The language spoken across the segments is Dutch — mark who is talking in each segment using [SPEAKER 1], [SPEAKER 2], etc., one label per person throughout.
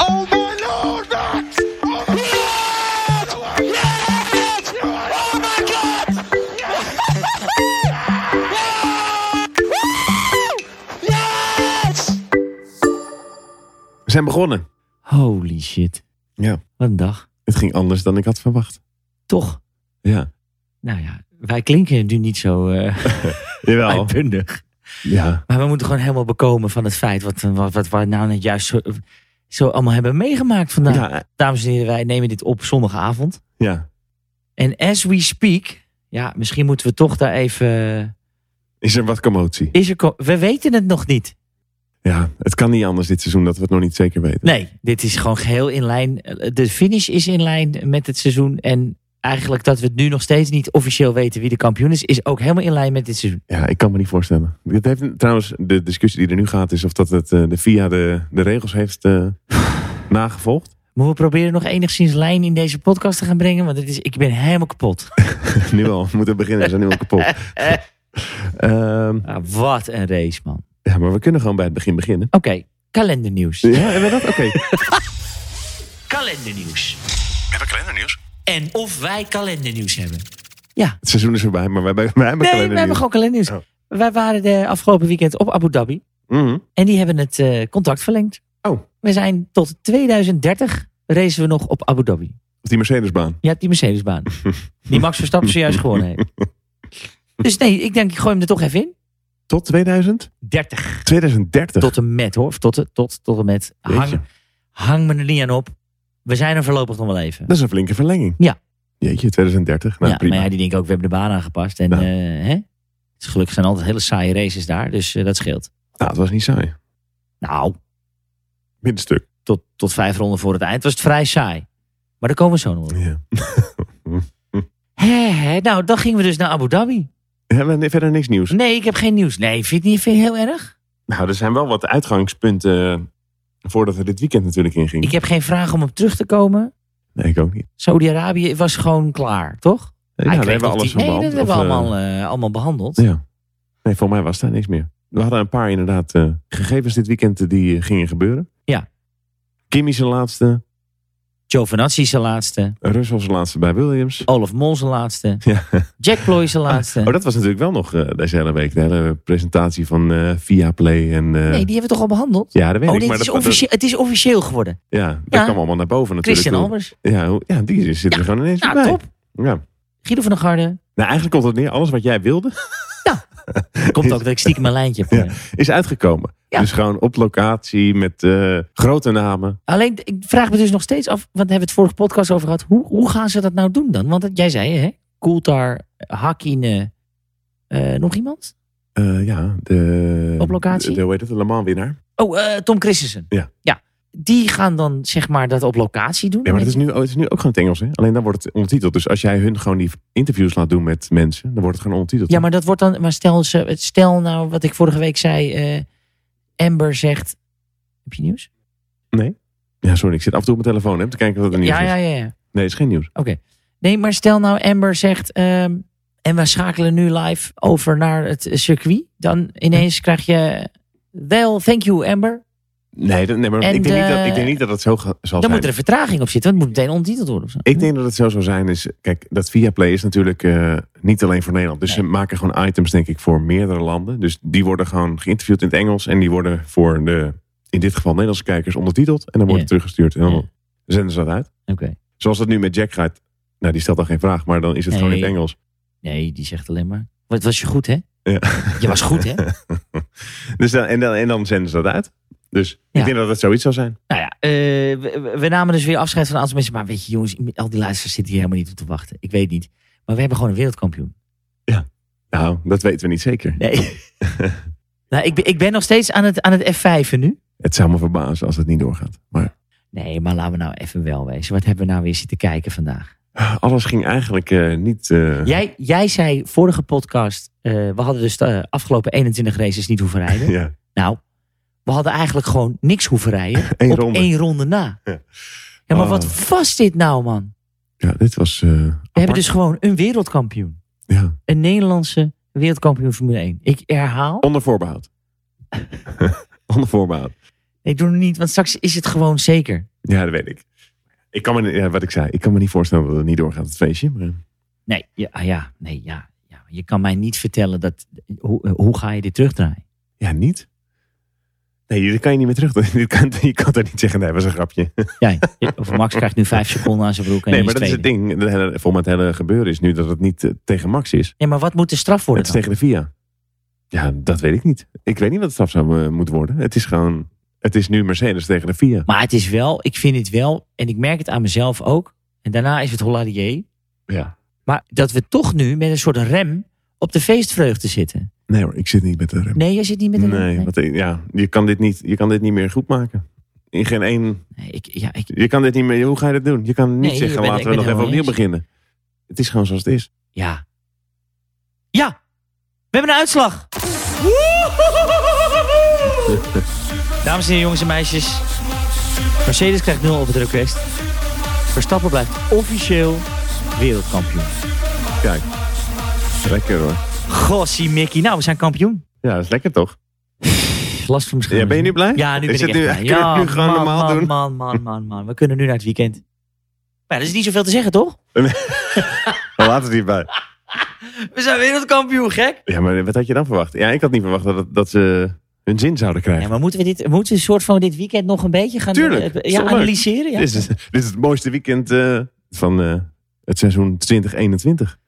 [SPEAKER 1] Oh, Oh,
[SPEAKER 2] zijn begonnen.
[SPEAKER 3] Holy shit.
[SPEAKER 2] Ja.
[SPEAKER 3] Wat een dag.
[SPEAKER 2] Het ging anders dan ik had verwacht.
[SPEAKER 3] Toch?
[SPEAKER 2] Ja.
[SPEAKER 3] Nou ja, wij klinken nu niet zo eh
[SPEAKER 2] Jawel.
[SPEAKER 3] uitbundig.
[SPEAKER 2] Ja.
[SPEAKER 3] Maar we moeten gewoon helemaal bekomen van het feit wat, wat, wat we nou net juist zo, zo allemaal hebben meegemaakt vandaag.
[SPEAKER 2] Ja.
[SPEAKER 3] Dames en heren, wij nemen dit op zondagavond.
[SPEAKER 2] ja.
[SPEAKER 3] En as we speak, ja, misschien moeten we toch daar even... eh,
[SPEAKER 2] Is er wat commotie?
[SPEAKER 3] Is er, co- we weten het nog niet.
[SPEAKER 2] Ja. Het kan niet anders dit seizoen dat we het nog niet zeker weten.
[SPEAKER 3] Nee, dit is gewoon geheel in lijn. eh, De finish is in lijn met het seizoen. En eigenlijk dat we het nu nog steeds niet officieel weten wie de kampioen is, is ook helemaal in lijn met dit seizoen.
[SPEAKER 2] Ja, ik kan me niet voorstellen. Dit heeft, trouwens, de discussie die er nu gaat is of dat het, eh, de FIA de, de regels heeft eh, nagevolgd.
[SPEAKER 3] Maar we proberen nog enigszins lijn in deze podcast te gaan brengen, want het is, ik ben helemaal kapot.
[SPEAKER 2] nu al. We moeten beginnen. We zijn nu al kapot. Ehm,
[SPEAKER 3] Ah, wat een race, man.
[SPEAKER 2] ja, maar we kunnen gewoon bij het begin beginnen.
[SPEAKER 3] Oké, kalendernieuws.
[SPEAKER 2] Ja, hebben we dat? Oké.
[SPEAKER 3] Kalendernieuws.
[SPEAKER 2] Hebben we kalendernieuws?
[SPEAKER 3] En of wij kalendernieuws hebben.
[SPEAKER 2] Het seizoen is voorbij, maar wij, wij, wij hebben
[SPEAKER 3] Nee, we
[SPEAKER 2] kalendernieuws.
[SPEAKER 3] hebben gewoon kalendernieuws. Oh. Wij waren de afgelopen weekend op Abu Dhabi.
[SPEAKER 2] Mhm.
[SPEAKER 3] En die hebben het eh, contract verlengd.
[SPEAKER 2] Oh.
[SPEAKER 3] We zijn tot 2030 racen we nog op Abu Dhabi.
[SPEAKER 2] Op die Mercedesbaan.
[SPEAKER 3] Je hebt die Mercedesbaan. die Max Verstappen zojuist gewonnen heeft. Dus nee, ik denk ik gooi hem er toch even in.
[SPEAKER 2] Tot 2000?
[SPEAKER 3] 30.
[SPEAKER 2] 2030.
[SPEAKER 3] Tot en met hoor. Of Tot, en- tot, tot en met.
[SPEAKER 2] Jeetje.
[SPEAKER 3] Hang, hang me er niet aan op. We zijn er voorlopig nog wel even.
[SPEAKER 2] Dat is een flinke verlenging.
[SPEAKER 3] Ja.
[SPEAKER 2] Jeetje, 2030. Nou,
[SPEAKER 3] ja,
[SPEAKER 2] prima.
[SPEAKER 3] maar ja, die denken ook, we hebben de baan aangepast. En
[SPEAKER 2] Ja.
[SPEAKER 3] eh, hè? Dus gelukkig zijn altijd hele saaie races daar, dus eh, dat scheelt.
[SPEAKER 2] Nou, het was niet saai.
[SPEAKER 3] Nou,
[SPEAKER 2] Middenstuk.
[SPEAKER 3] tot, tot vijf ronden voor het eind was het vrij saai. Maar daar komen we zo nog op.
[SPEAKER 2] Ja.
[SPEAKER 3] Hè, hè, nou, dan gingen we dus naar Abu Dhabi.
[SPEAKER 2] Hebben we verder niks nieuws?
[SPEAKER 3] Nee, ik heb geen nieuws. Nee, vind je het niet vind je het heel erg?
[SPEAKER 2] Nou, er zijn wel wat uitgangspunten eh, voordat we dit weekend natuurlijk inging.
[SPEAKER 3] Ik heb geen vraag om op terug te komen.
[SPEAKER 2] Nee, ik ook niet.
[SPEAKER 3] Saudi-Arabië was gewoon klaar, toch?
[SPEAKER 2] Nee,
[SPEAKER 3] Hij
[SPEAKER 2] nou, daar hebben
[SPEAKER 3] kreeg
[SPEAKER 2] we
[SPEAKER 3] nog
[SPEAKER 2] alles
[SPEAKER 3] die-
[SPEAKER 2] van
[SPEAKER 3] Nee, Ah, dat
[SPEAKER 2] behandeld.
[SPEAKER 3] hebben
[SPEAKER 2] Of, eh,
[SPEAKER 3] we allemaal, eh, allemaal behandeld.
[SPEAKER 2] Ja. Nee, voor mij was daar niks meer. We hadden een paar inderdaad eh, gegevens dit weekend eh, die eh, gingen gebeuren.
[SPEAKER 3] Ja.
[SPEAKER 2] Kimi zijn laatste.
[SPEAKER 3] Giovinazzi zijn laatste.
[SPEAKER 2] Russell zijn laatste bij Williams.
[SPEAKER 3] Olaf Mol zijn laatste.
[SPEAKER 2] Ja.
[SPEAKER 3] Jack Ploy zijn laatste.
[SPEAKER 2] Oh, dat was natuurlijk wel nog eh, deze hele week. De hele presentatie van eh Via Play en... eh,
[SPEAKER 3] Nee, die hebben we toch al behandeld?
[SPEAKER 2] Ja, dat weet
[SPEAKER 3] Oh,
[SPEAKER 2] ik.
[SPEAKER 3] dit
[SPEAKER 2] Maar
[SPEAKER 3] is
[SPEAKER 2] dat, dat-
[SPEAKER 3] officieel, het is officieel geworden.
[SPEAKER 2] ja, dat
[SPEAKER 3] Ja.
[SPEAKER 2] kwam allemaal naar boven natuurlijk.
[SPEAKER 3] Christian
[SPEAKER 2] Hoe-
[SPEAKER 3] Albers.
[SPEAKER 2] Ja, hoe- ja, die zitten er gewoon ineens
[SPEAKER 3] Nou,
[SPEAKER 2] bij.
[SPEAKER 3] top.
[SPEAKER 2] Ja.
[SPEAKER 3] Guido van der Garde.
[SPEAKER 2] Nou, eigenlijk komt het neer. Alles wat jij wilde
[SPEAKER 3] Komt ook dat ik stiekem mijn lijntje heb.
[SPEAKER 2] Ja.
[SPEAKER 3] eh.
[SPEAKER 2] is uitgekomen.
[SPEAKER 3] Ja.
[SPEAKER 2] Dus gewoon op locatie met eh, grote namen.
[SPEAKER 3] Alleen, ik vraag me dus nog steeds af, want daar hebben we het vorige podcast over gehad. Hoe, hoe gaan ze dat nou doen dan? Want dat, jij zei, hè? Koeltar, Hakkinen, eh, nog iemand?
[SPEAKER 2] Eh, ja, de...
[SPEAKER 3] Op locatie?
[SPEAKER 2] De, de, hoe heet het? De Le Mans winnaar.
[SPEAKER 3] Oh, eh, Tom Christensen.
[SPEAKER 2] Ja.
[SPEAKER 3] ja. Die gaan dan, zeg maar, dat op locatie doen.
[SPEAKER 2] Ja, maar het is, nu, het is nu ook gewoon het Engels, hè? Alleen dan wordt het ondertiteld. Dus als jij hun gewoon die interviews laat doen met mensen, dan wordt het gewoon ondertiteld.
[SPEAKER 3] Ja, maar dat wordt dan. Maar stel, ze, stel nou wat ik vorige week zei. eh, Amber zegt. Heb je nieuws?
[SPEAKER 2] Ja, sorry, ik zit af en toe op mijn telefoon hè, om te kijken wat er nieuws
[SPEAKER 3] Ja,
[SPEAKER 2] is.
[SPEAKER 3] ja, ja, ja.
[SPEAKER 2] Nee, het is geen nieuws.
[SPEAKER 3] Nee, maar stel nou Amber zegt. ehm, en we schakelen nu live over naar het circuit. Dan ineens krijg je. Well, thank you, Amber.
[SPEAKER 2] Nee, dat- nee maar
[SPEAKER 3] En
[SPEAKER 2] ik, denk niet dat,
[SPEAKER 3] de-
[SPEAKER 2] ik denk niet dat het zo ga- zal
[SPEAKER 3] Dan
[SPEAKER 2] zijn.
[SPEAKER 3] moet er een vertraging op zitten, want het moet meteen ondertiteld worden. Of zo.
[SPEAKER 2] Ik denk dat het zo zou zijn. Is, kijk, dat Viaplay is natuurlijk eh, niet alleen voor Nederland. Dus
[SPEAKER 3] Nee.
[SPEAKER 2] ze maken gewoon items, denk ik, voor meerdere landen. Dus die worden gewoon geïnterviewd in het Engels. En die worden voor de, in dit geval, Nederlandse kijkers ondertiteld. En dan wordt
[SPEAKER 3] Ja.
[SPEAKER 2] het teruggestuurd. En dan
[SPEAKER 3] Ja.
[SPEAKER 2] zenden ze dat uit.
[SPEAKER 3] Hm? Oké.
[SPEAKER 2] Zoals dat nu met Jack gaat. Nou, die stelt dan geen vraag, maar dan is het gewoon in het
[SPEAKER 3] Nee.
[SPEAKER 2] Engels.
[SPEAKER 3] Nee, die zegt alleen maar. Wat was je goed, hè?
[SPEAKER 2] Ja.
[SPEAKER 3] Je was goed, hè?
[SPEAKER 2] dus dan, en, dan, en dan zenden ze dat uit. Dus
[SPEAKER 3] Ja.
[SPEAKER 2] ik denk dat het zoiets zou zijn.
[SPEAKER 3] Nou ja, eh, we, we namen dus weer afscheid van een aantal mensen. Maar weet je, jongens, al die luisteraars zitten hier helemaal niet op te wachten. Ik weet niet. Maar we hebben gewoon een wereldkampioen.
[SPEAKER 2] Nou, dat weten we niet zeker.
[SPEAKER 3] Nee. nou, ik, ben- ik ben nog steeds aan het, aan het F5 nu.
[SPEAKER 2] Het zou me verbazen als het niet doorgaat. Maar
[SPEAKER 3] Nee, maar laten we nou even wel wezen. Wat hebben we nou weer zitten kijken vandaag?
[SPEAKER 2] Alles ging eigenlijk eh, niet. eh,
[SPEAKER 3] Jij, jij zei vorige podcast, eh, we hadden dus de eh, afgelopen 21 races niet hoeven rijden.
[SPEAKER 2] ja.
[SPEAKER 3] nou, we hadden eigenlijk gewoon niks hoeven rijden
[SPEAKER 2] Eén
[SPEAKER 3] op
[SPEAKER 2] ronde.
[SPEAKER 3] één ronde na. Ja, maar
[SPEAKER 2] Oh.
[SPEAKER 3] wat was dit nou, man?
[SPEAKER 2] ja, dit was. eh,
[SPEAKER 3] We
[SPEAKER 2] apart.
[SPEAKER 3] hebben dus gewoon een wereldkampioen.
[SPEAKER 2] ja.
[SPEAKER 3] Een Nederlandse wereldkampioen Formule 1. Ik herhaal,
[SPEAKER 2] Onder voorbehoud. Onder voorbehoud.
[SPEAKER 3] ik doe het niet, want straks is het gewoon zeker.
[SPEAKER 2] Ja, dat weet ik. Ik kan me, niet- ja, wat ik zei, ik kan me niet voorstellen dat het niet doorgaat, het feestje. Maar, eh,
[SPEAKER 3] Nee, ja, ah ja, nee, ja, ja. Je kan mij niet vertellen dat. Hoe, hoe ga je dit terugdraaien?
[SPEAKER 2] ja, niet. Nee, dit kan je niet meer terug. doen. Dit kan, je kan toch niet zeggen, nee, was een grapje.
[SPEAKER 3] Ja, of Max krijgt nu vijf seconden aan zijn broek. En
[SPEAKER 2] Nee,
[SPEAKER 3] hij
[SPEAKER 2] maar dat is het
[SPEAKER 3] tweede.
[SPEAKER 2] ding. Het hele- Volgens mij het hele gebeuren is nu dat het niet eh, tegen Max is.
[SPEAKER 3] Ja, maar wat moet de straf worden?
[SPEAKER 2] Het is tegen de VIA. Ja, dat weet ik niet. Ik weet niet wat de straf zou eh, moeten worden. Het is gewoon... Het is nu Mercedes tegen de VIA.
[SPEAKER 3] Maar het is wel, ik vind het wel, en ik merk het aan mezelf ook. En daarna is het Holladier.
[SPEAKER 2] Ja.
[SPEAKER 3] Maar dat we toch nu met een soort rem op de feestvreugde zitten.
[SPEAKER 2] Nee hoor, ik zit niet met de rem.
[SPEAKER 3] Nee, jij zit niet met een rem.
[SPEAKER 2] Nee, want, eh, ja, je, kan dit niet, je kan dit niet meer goed maken. In geen één...
[SPEAKER 3] Nee, ik, ja, ik,
[SPEAKER 2] Je kan dit niet meer... Hoe ga je dat doen? Je kan niet
[SPEAKER 3] Nee,
[SPEAKER 2] zeggen,
[SPEAKER 3] ik ben-
[SPEAKER 2] laten
[SPEAKER 3] ik
[SPEAKER 2] we
[SPEAKER 3] ben
[SPEAKER 2] nog even
[SPEAKER 3] helemaal
[SPEAKER 2] opnieuw
[SPEAKER 3] eens.
[SPEAKER 2] beginnen. Het is gewoon zoals het is.
[SPEAKER 3] ja. Ja, we hebben een uitslag. Dames en heren, jongens en meisjes. Mercedes krijgt 0 op het request. Verstappen blijft officieel wereldkampioen.
[SPEAKER 2] Kijk. Lekker hoor.
[SPEAKER 3] Gossie Mickey. Nou, we zijn kampioen.
[SPEAKER 2] Ja, dat is lekker toch?
[SPEAKER 3] Last van mijn
[SPEAKER 2] Ja, ben je nu blij?
[SPEAKER 3] Ja, nu
[SPEAKER 2] Is
[SPEAKER 3] ben ik
[SPEAKER 2] het nu-
[SPEAKER 3] echt blij.
[SPEAKER 2] kunnen we
[SPEAKER 3] Ja,
[SPEAKER 2] het nu gewoon
[SPEAKER 3] man,
[SPEAKER 2] normaal
[SPEAKER 3] man,
[SPEAKER 2] doen?
[SPEAKER 3] Man, man, man, man. We kunnen nu naar het weekend. Maar er is niet zoveel te zeggen, toch?
[SPEAKER 2] Dan laat het hierbij.
[SPEAKER 3] We zijn wereldkampioen, gek.
[SPEAKER 2] Ja, maar wat had je dan verwacht? Ja, ik had niet verwacht dat, het- dat ze hun zin zouden krijgen.
[SPEAKER 3] Ja, maar moeten we, dit, moeten we een soort van dit weekend nog een beetje gaan
[SPEAKER 2] Tuurlijk,
[SPEAKER 3] eh,
[SPEAKER 2] is
[SPEAKER 3] ja,
[SPEAKER 2] toch leuk?
[SPEAKER 3] analyseren? Ja.
[SPEAKER 2] Dit, is, dit is het mooiste weekend eh, van eh, het seizoen 2021.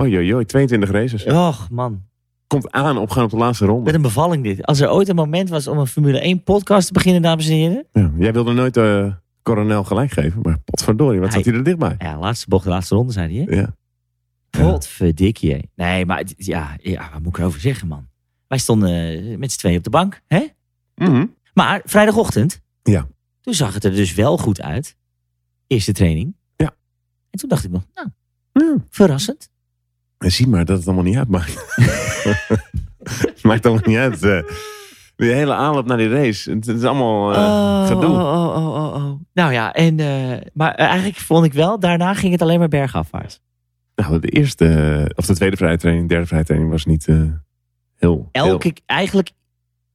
[SPEAKER 2] Oei, oei, oei, 22 races.
[SPEAKER 3] Och, man.
[SPEAKER 2] Komt aan op gaan op de laatste ronde.
[SPEAKER 3] Wat een bevalling dit. Als er ooit een moment was om een Formule 1 podcast te beginnen, dames en heren.
[SPEAKER 2] Ja, jij wilde nooit eh, Coronel gelijk geven, maar potverdorie, wat
[SPEAKER 3] Hij-
[SPEAKER 2] zat hij er dichtbij?
[SPEAKER 3] Ja, laatste bocht, laatste ronde, zei hij. hè?
[SPEAKER 2] Ja.
[SPEAKER 3] Potverdikkie. Nee, maar het- ja, ja, wat moet ik erover zeggen, man? Wij stonden eh, met z'n tweeën op de bank, hè?
[SPEAKER 2] Mhm.
[SPEAKER 3] Maar vrijdagochtend.
[SPEAKER 2] Ja.
[SPEAKER 3] Toen zag het er dus wel goed uit. Eerste training.
[SPEAKER 2] Ja.
[SPEAKER 3] En toen dacht ik nog, nou,
[SPEAKER 2] Ja.
[SPEAKER 3] verrassend.
[SPEAKER 2] En zie maar dat het allemaal niet uitmaakt. maakt allemaal niet uit. eh. die hele aanloop naar die race. Het, het is allemaal eh, gedoe.
[SPEAKER 3] Oh, oh, oh, oh, oh. Nou ja, en, eh, maar eigenlijk vond ik wel, daarna ging het alleen maar bergafwaarts.
[SPEAKER 2] Nou, de eerste, eh, of de tweede vrijtraining, derde vrijtraining was niet eh, heel... heel-
[SPEAKER 3] Elke, eigenlijk,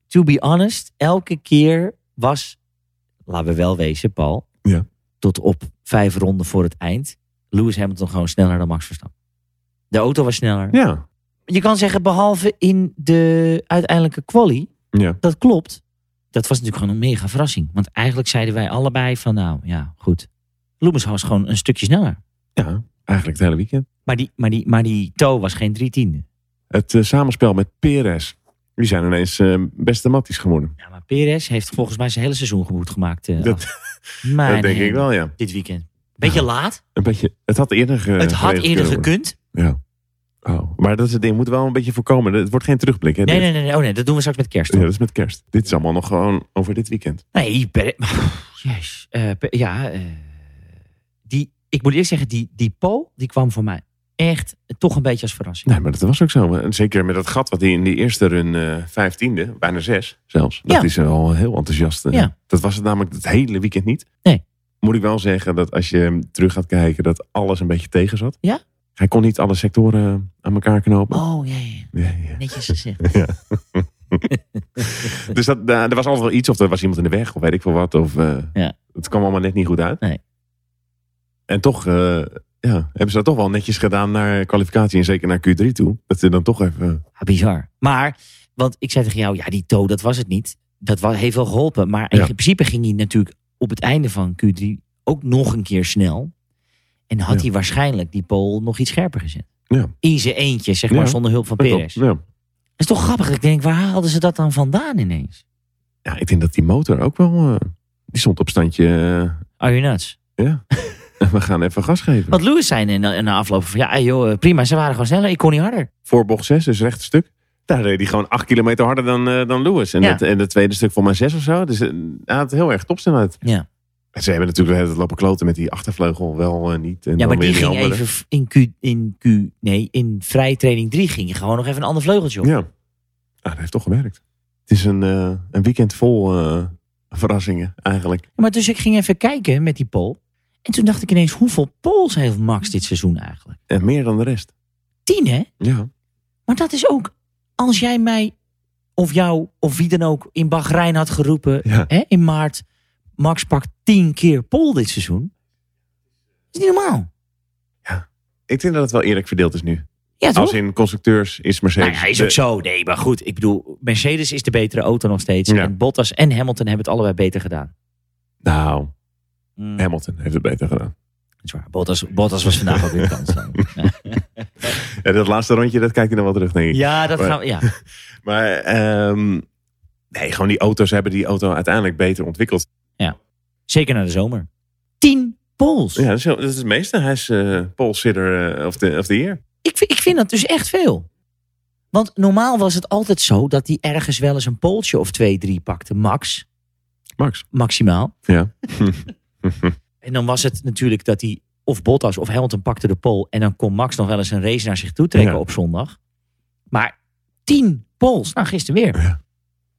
[SPEAKER 3] to be honest, elke keer was, laten we wel wezen, Paul.
[SPEAKER 2] Ja.
[SPEAKER 3] Tot op vijf ronden voor het eind. Lewis Hamilton gewoon sneller dan Max Verstappen. De auto was sneller.
[SPEAKER 2] Ja,
[SPEAKER 3] Je kan zeggen, behalve in de uiteindelijke quali,
[SPEAKER 2] ja.
[SPEAKER 3] dat klopt. Dat was natuurlijk gewoon een mega verrassing. Want eigenlijk zeiden wij allebei van, nou ja, goed. Lewis was gewoon een stukje sneller.
[SPEAKER 2] ja, eigenlijk het hele weekend.
[SPEAKER 3] Maar die, maar die, maar die toe was geen drie tiende.
[SPEAKER 2] Het eh, samenspel met Perez. Die zijn ineens eh, best dramatisch geworden.
[SPEAKER 3] Ja, maar Perez heeft volgens mij zijn hele seizoen goed gemaakt. eh,
[SPEAKER 2] Dat-
[SPEAKER 3] af. Mijn
[SPEAKER 2] dat denk
[SPEAKER 3] hemel,
[SPEAKER 2] ik wel, ja.
[SPEAKER 3] Dit weekend. Beetje
[SPEAKER 2] Nou,
[SPEAKER 3] laat.
[SPEAKER 2] Een beetje, het had eerder ge-
[SPEAKER 3] het had
[SPEAKER 2] geregeld
[SPEAKER 3] eerder
[SPEAKER 2] kunnen
[SPEAKER 3] gekund.
[SPEAKER 2] worden. Ja. Oh. Maar dat is het ding. Moet wel een beetje voorkomen. Het wordt geen terugblik. Hè,
[SPEAKER 3] Nee,
[SPEAKER 2] dit.
[SPEAKER 3] nee, nee, nee. Oh nee, dat doen we straks met kerst.
[SPEAKER 2] Ja, dat is met kerst. Dit is allemaal nog gewoon over dit weekend.
[SPEAKER 3] Nee, Perez. Jezus. Eh, Pe- ja, eh, die, ik moet eerlijk zeggen, die, die Paul, die kwam voor mij echt toch een beetje als verrassing.
[SPEAKER 2] Nee, maar dat was ook zo. En Zeker met dat gat wat hij in die eerste run eh vijftiende, bijna zes zelfs. Dat
[SPEAKER 3] Ja.
[SPEAKER 2] is al heel enthousiast. eh.
[SPEAKER 3] Ja.
[SPEAKER 2] Dat was het namelijk het hele weekend niet.
[SPEAKER 3] Nee.
[SPEAKER 2] Moet ik wel zeggen dat als je hem terug gaat kijken, dat alles een beetje tegen zat.
[SPEAKER 3] Ja?
[SPEAKER 2] Hij kon niet alle sectoren eh, aan elkaar knopen.
[SPEAKER 3] Oh, ja, ja, ja.
[SPEAKER 2] Ja, ja.
[SPEAKER 3] netjes gezegd.
[SPEAKER 2] Dus dat, daar- er was altijd wel iets, of er was iemand in de weg, of weet ik veel wat. Of, eh,
[SPEAKER 3] Ja.
[SPEAKER 2] Het kwam allemaal net niet goed uit.
[SPEAKER 3] Nee.
[SPEAKER 2] En toch eh, ja, hebben ze dat toch wel netjes gedaan naar kwalificatie en zeker naar Q3 toe. Dat ze dan toch even... eh,
[SPEAKER 3] Ja, Bizar. Maar, want ik zei tegen jou, ja, die toe, dat was het niet. Dat wa- heeft wel geholpen. Maar in
[SPEAKER 2] Ja.
[SPEAKER 3] principe ging hij natuurlijk op het einde van Q3 ook nog een keer snel. En had
[SPEAKER 2] Ja.
[SPEAKER 3] hij waarschijnlijk die pole nog iets scherper gezet.
[SPEAKER 2] Ja.
[SPEAKER 3] In zijn eentje, zeg maar,
[SPEAKER 2] Ja.
[SPEAKER 3] zonder hulp van Perez. Het
[SPEAKER 2] Ja.
[SPEAKER 3] is toch grappig. dat Ik denk, waar haalden ze dat dan vandaan ineens?
[SPEAKER 2] ja, ik denk dat die motor ook wel... eh, die stond op standje... eh,
[SPEAKER 3] Are you nuts?
[SPEAKER 2] ja, we gaan even gas geven.
[SPEAKER 3] Want Lewis zei in, in de afloop van, ja joh, eh, prima, ze waren gewoon sneller. Ik kon niet harder.
[SPEAKER 2] Voor bocht 6, dus recht stuk. Daar reed hij gewoon 8 kilometer harder dan, eh, dan Lewis. En
[SPEAKER 3] Ja.
[SPEAKER 2] het en het tweede stuk voor mij 6 of zo. Dus eh, hij had heel erg topsnelheid.
[SPEAKER 3] Ja,
[SPEAKER 2] En Ze hebben natuurlijk de hele tijd lopen kloten met die achtervleugel wel eh, niet. En
[SPEAKER 3] ja
[SPEAKER 2] dan
[SPEAKER 3] maar
[SPEAKER 2] weer
[SPEAKER 3] die ging
[SPEAKER 2] andere.
[SPEAKER 3] even f- in Q, in Q, nee, in vrij training 3 ging je gewoon nog even een ander vleugeltje op.
[SPEAKER 2] Ja. Ah, dat heeft toch gewerkt. Het is een, eh, een weekend vol eh, verrassingen eigenlijk.
[SPEAKER 3] Maar dus ik ging even kijken met die pol. En toen dacht ik ineens, hoeveel pols heeft Max dit seizoen eigenlijk?
[SPEAKER 2] En meer dan de rest.
[SPEAKER 3] Tien, hè?
[SPEAKER 2] Ja.
[SPEAKER 3] Maar dat is ook, als jij mij of jou of wie dan ook in Bahrein had geroepen
[SPEAKER 2] ja.
[SPEAKER 3] hè, in maart... Max pakt tien keer pol dit seizoen. Dat is niet normaal.
[SPEAKER 2] Ik denk dat het wel eerlijk verdeeld is nu.
[SPEAKER 3] Ja, toch?
[SPEAKER 2] Als in constructeurs is
[SPEAKER 3] Nou
[SPEAKER 2] Mercedes.
[SPEAKER 3] ja, is ook
[SPEAKER 2] de-
[SPEAKER 3] zo. Nee, maar goed. Ik bedoel, Mercedes is de betere auto nog steeds.
[SPEAKER 2] Ja.
[SPEAKER 3] En Bottas en Hamilton hebben het allebei beter gedaan.
[SPEAKER 2] Nou,
[SPEAKER 3] Mm, dat
[SPEAKER 2] Hamilton heeft het beter gedaan.
[SPEAKER 3] is waar. Bottas, Bottas was vandaag ook weer kans. Ja.
[SPEAKER 2] Ja, dat laatste rondje, dat kijkt hij dan wel terug, denk ik.
[SPEAKER 3] ja, dat gaan we... Ja.
[SPEAKER 2] Maar ehm, nee, gewoon die auto's hebben die auto uiteindelijk beter ontwikkeld.
[SPEAKER 3] Zeker na de zomer. Tien pols.
[SPEAKER 2] Ja, dat is, heel- dat is het meeste. Hij is eh pole sitter eh, of, the, of the year.
[SPEAKER 3] Ik, vind- ik vind dat dus echt veel. Want normaal was het altijd zo dat hij ergens wel eens een poltje of twee, drie pakte. Max,
[SPEAKER 2] Max.
[SPEAKER 3] maximaal.
[SPEAKER 2] Ja.
[SPEAKER 3] En dan was het natuurlijk dat hij of Bottas of Hamilton pakte de pol. En dan kon Max nog wel eens een race naar zich toe trekken
[SPEAKER 2] Ja.
[SPEAKER 3] op zondag. Maar tien pols. Nou, gisteren weer.
[SPEAKER 2] Ja.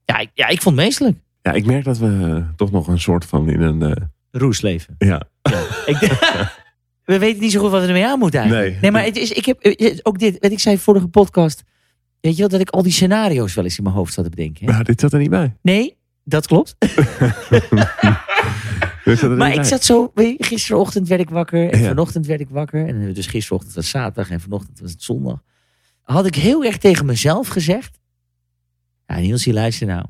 [SPEAKER 3] Ja, ik, ja, ik vond het meestelijk.
[SPEAKER 2] ja, ik merk dat we eh, toch nog een soort van in een... eh,
[SPEAKER 3] Roesleven.
[SPEAKER 2] ja.
[SPEAKER 3] Ik d- We weten niet zo goed wat we ermee aan moeten eigenlijk.
[SPEAKER 2] Nee.
[SPEAKER 3] maar het is, ik heb eh, ook dit. Weet ik zei vorige podcast. Weet je wel dat ik al die scenario's wel eens in mijn hoofd zat te bedenken. hè?
[SPEAKER 2] Nou, dit zat er niet bij.
[SPEAKER 3] Nee, dat klopt.
[SPEAKER 2] Dit zat er
[SPEAKER 3] Maar
[SPEAKER 2] niet
[SPEAKER 3] ik
[SPEAKER 2] bij.
[SPEAKER 3] zat zo, weet je, gisterochtend werd ik wakker en
[SPEAKER 2] Ja.
[SPEAKER 3] vanochtend werd ik wakker. En eh, dus gisterochtend was zaterdag en vanochtend was het zondag. Had ik heel erg tegen mezelf gezegd. Ja, Niels, luister nou.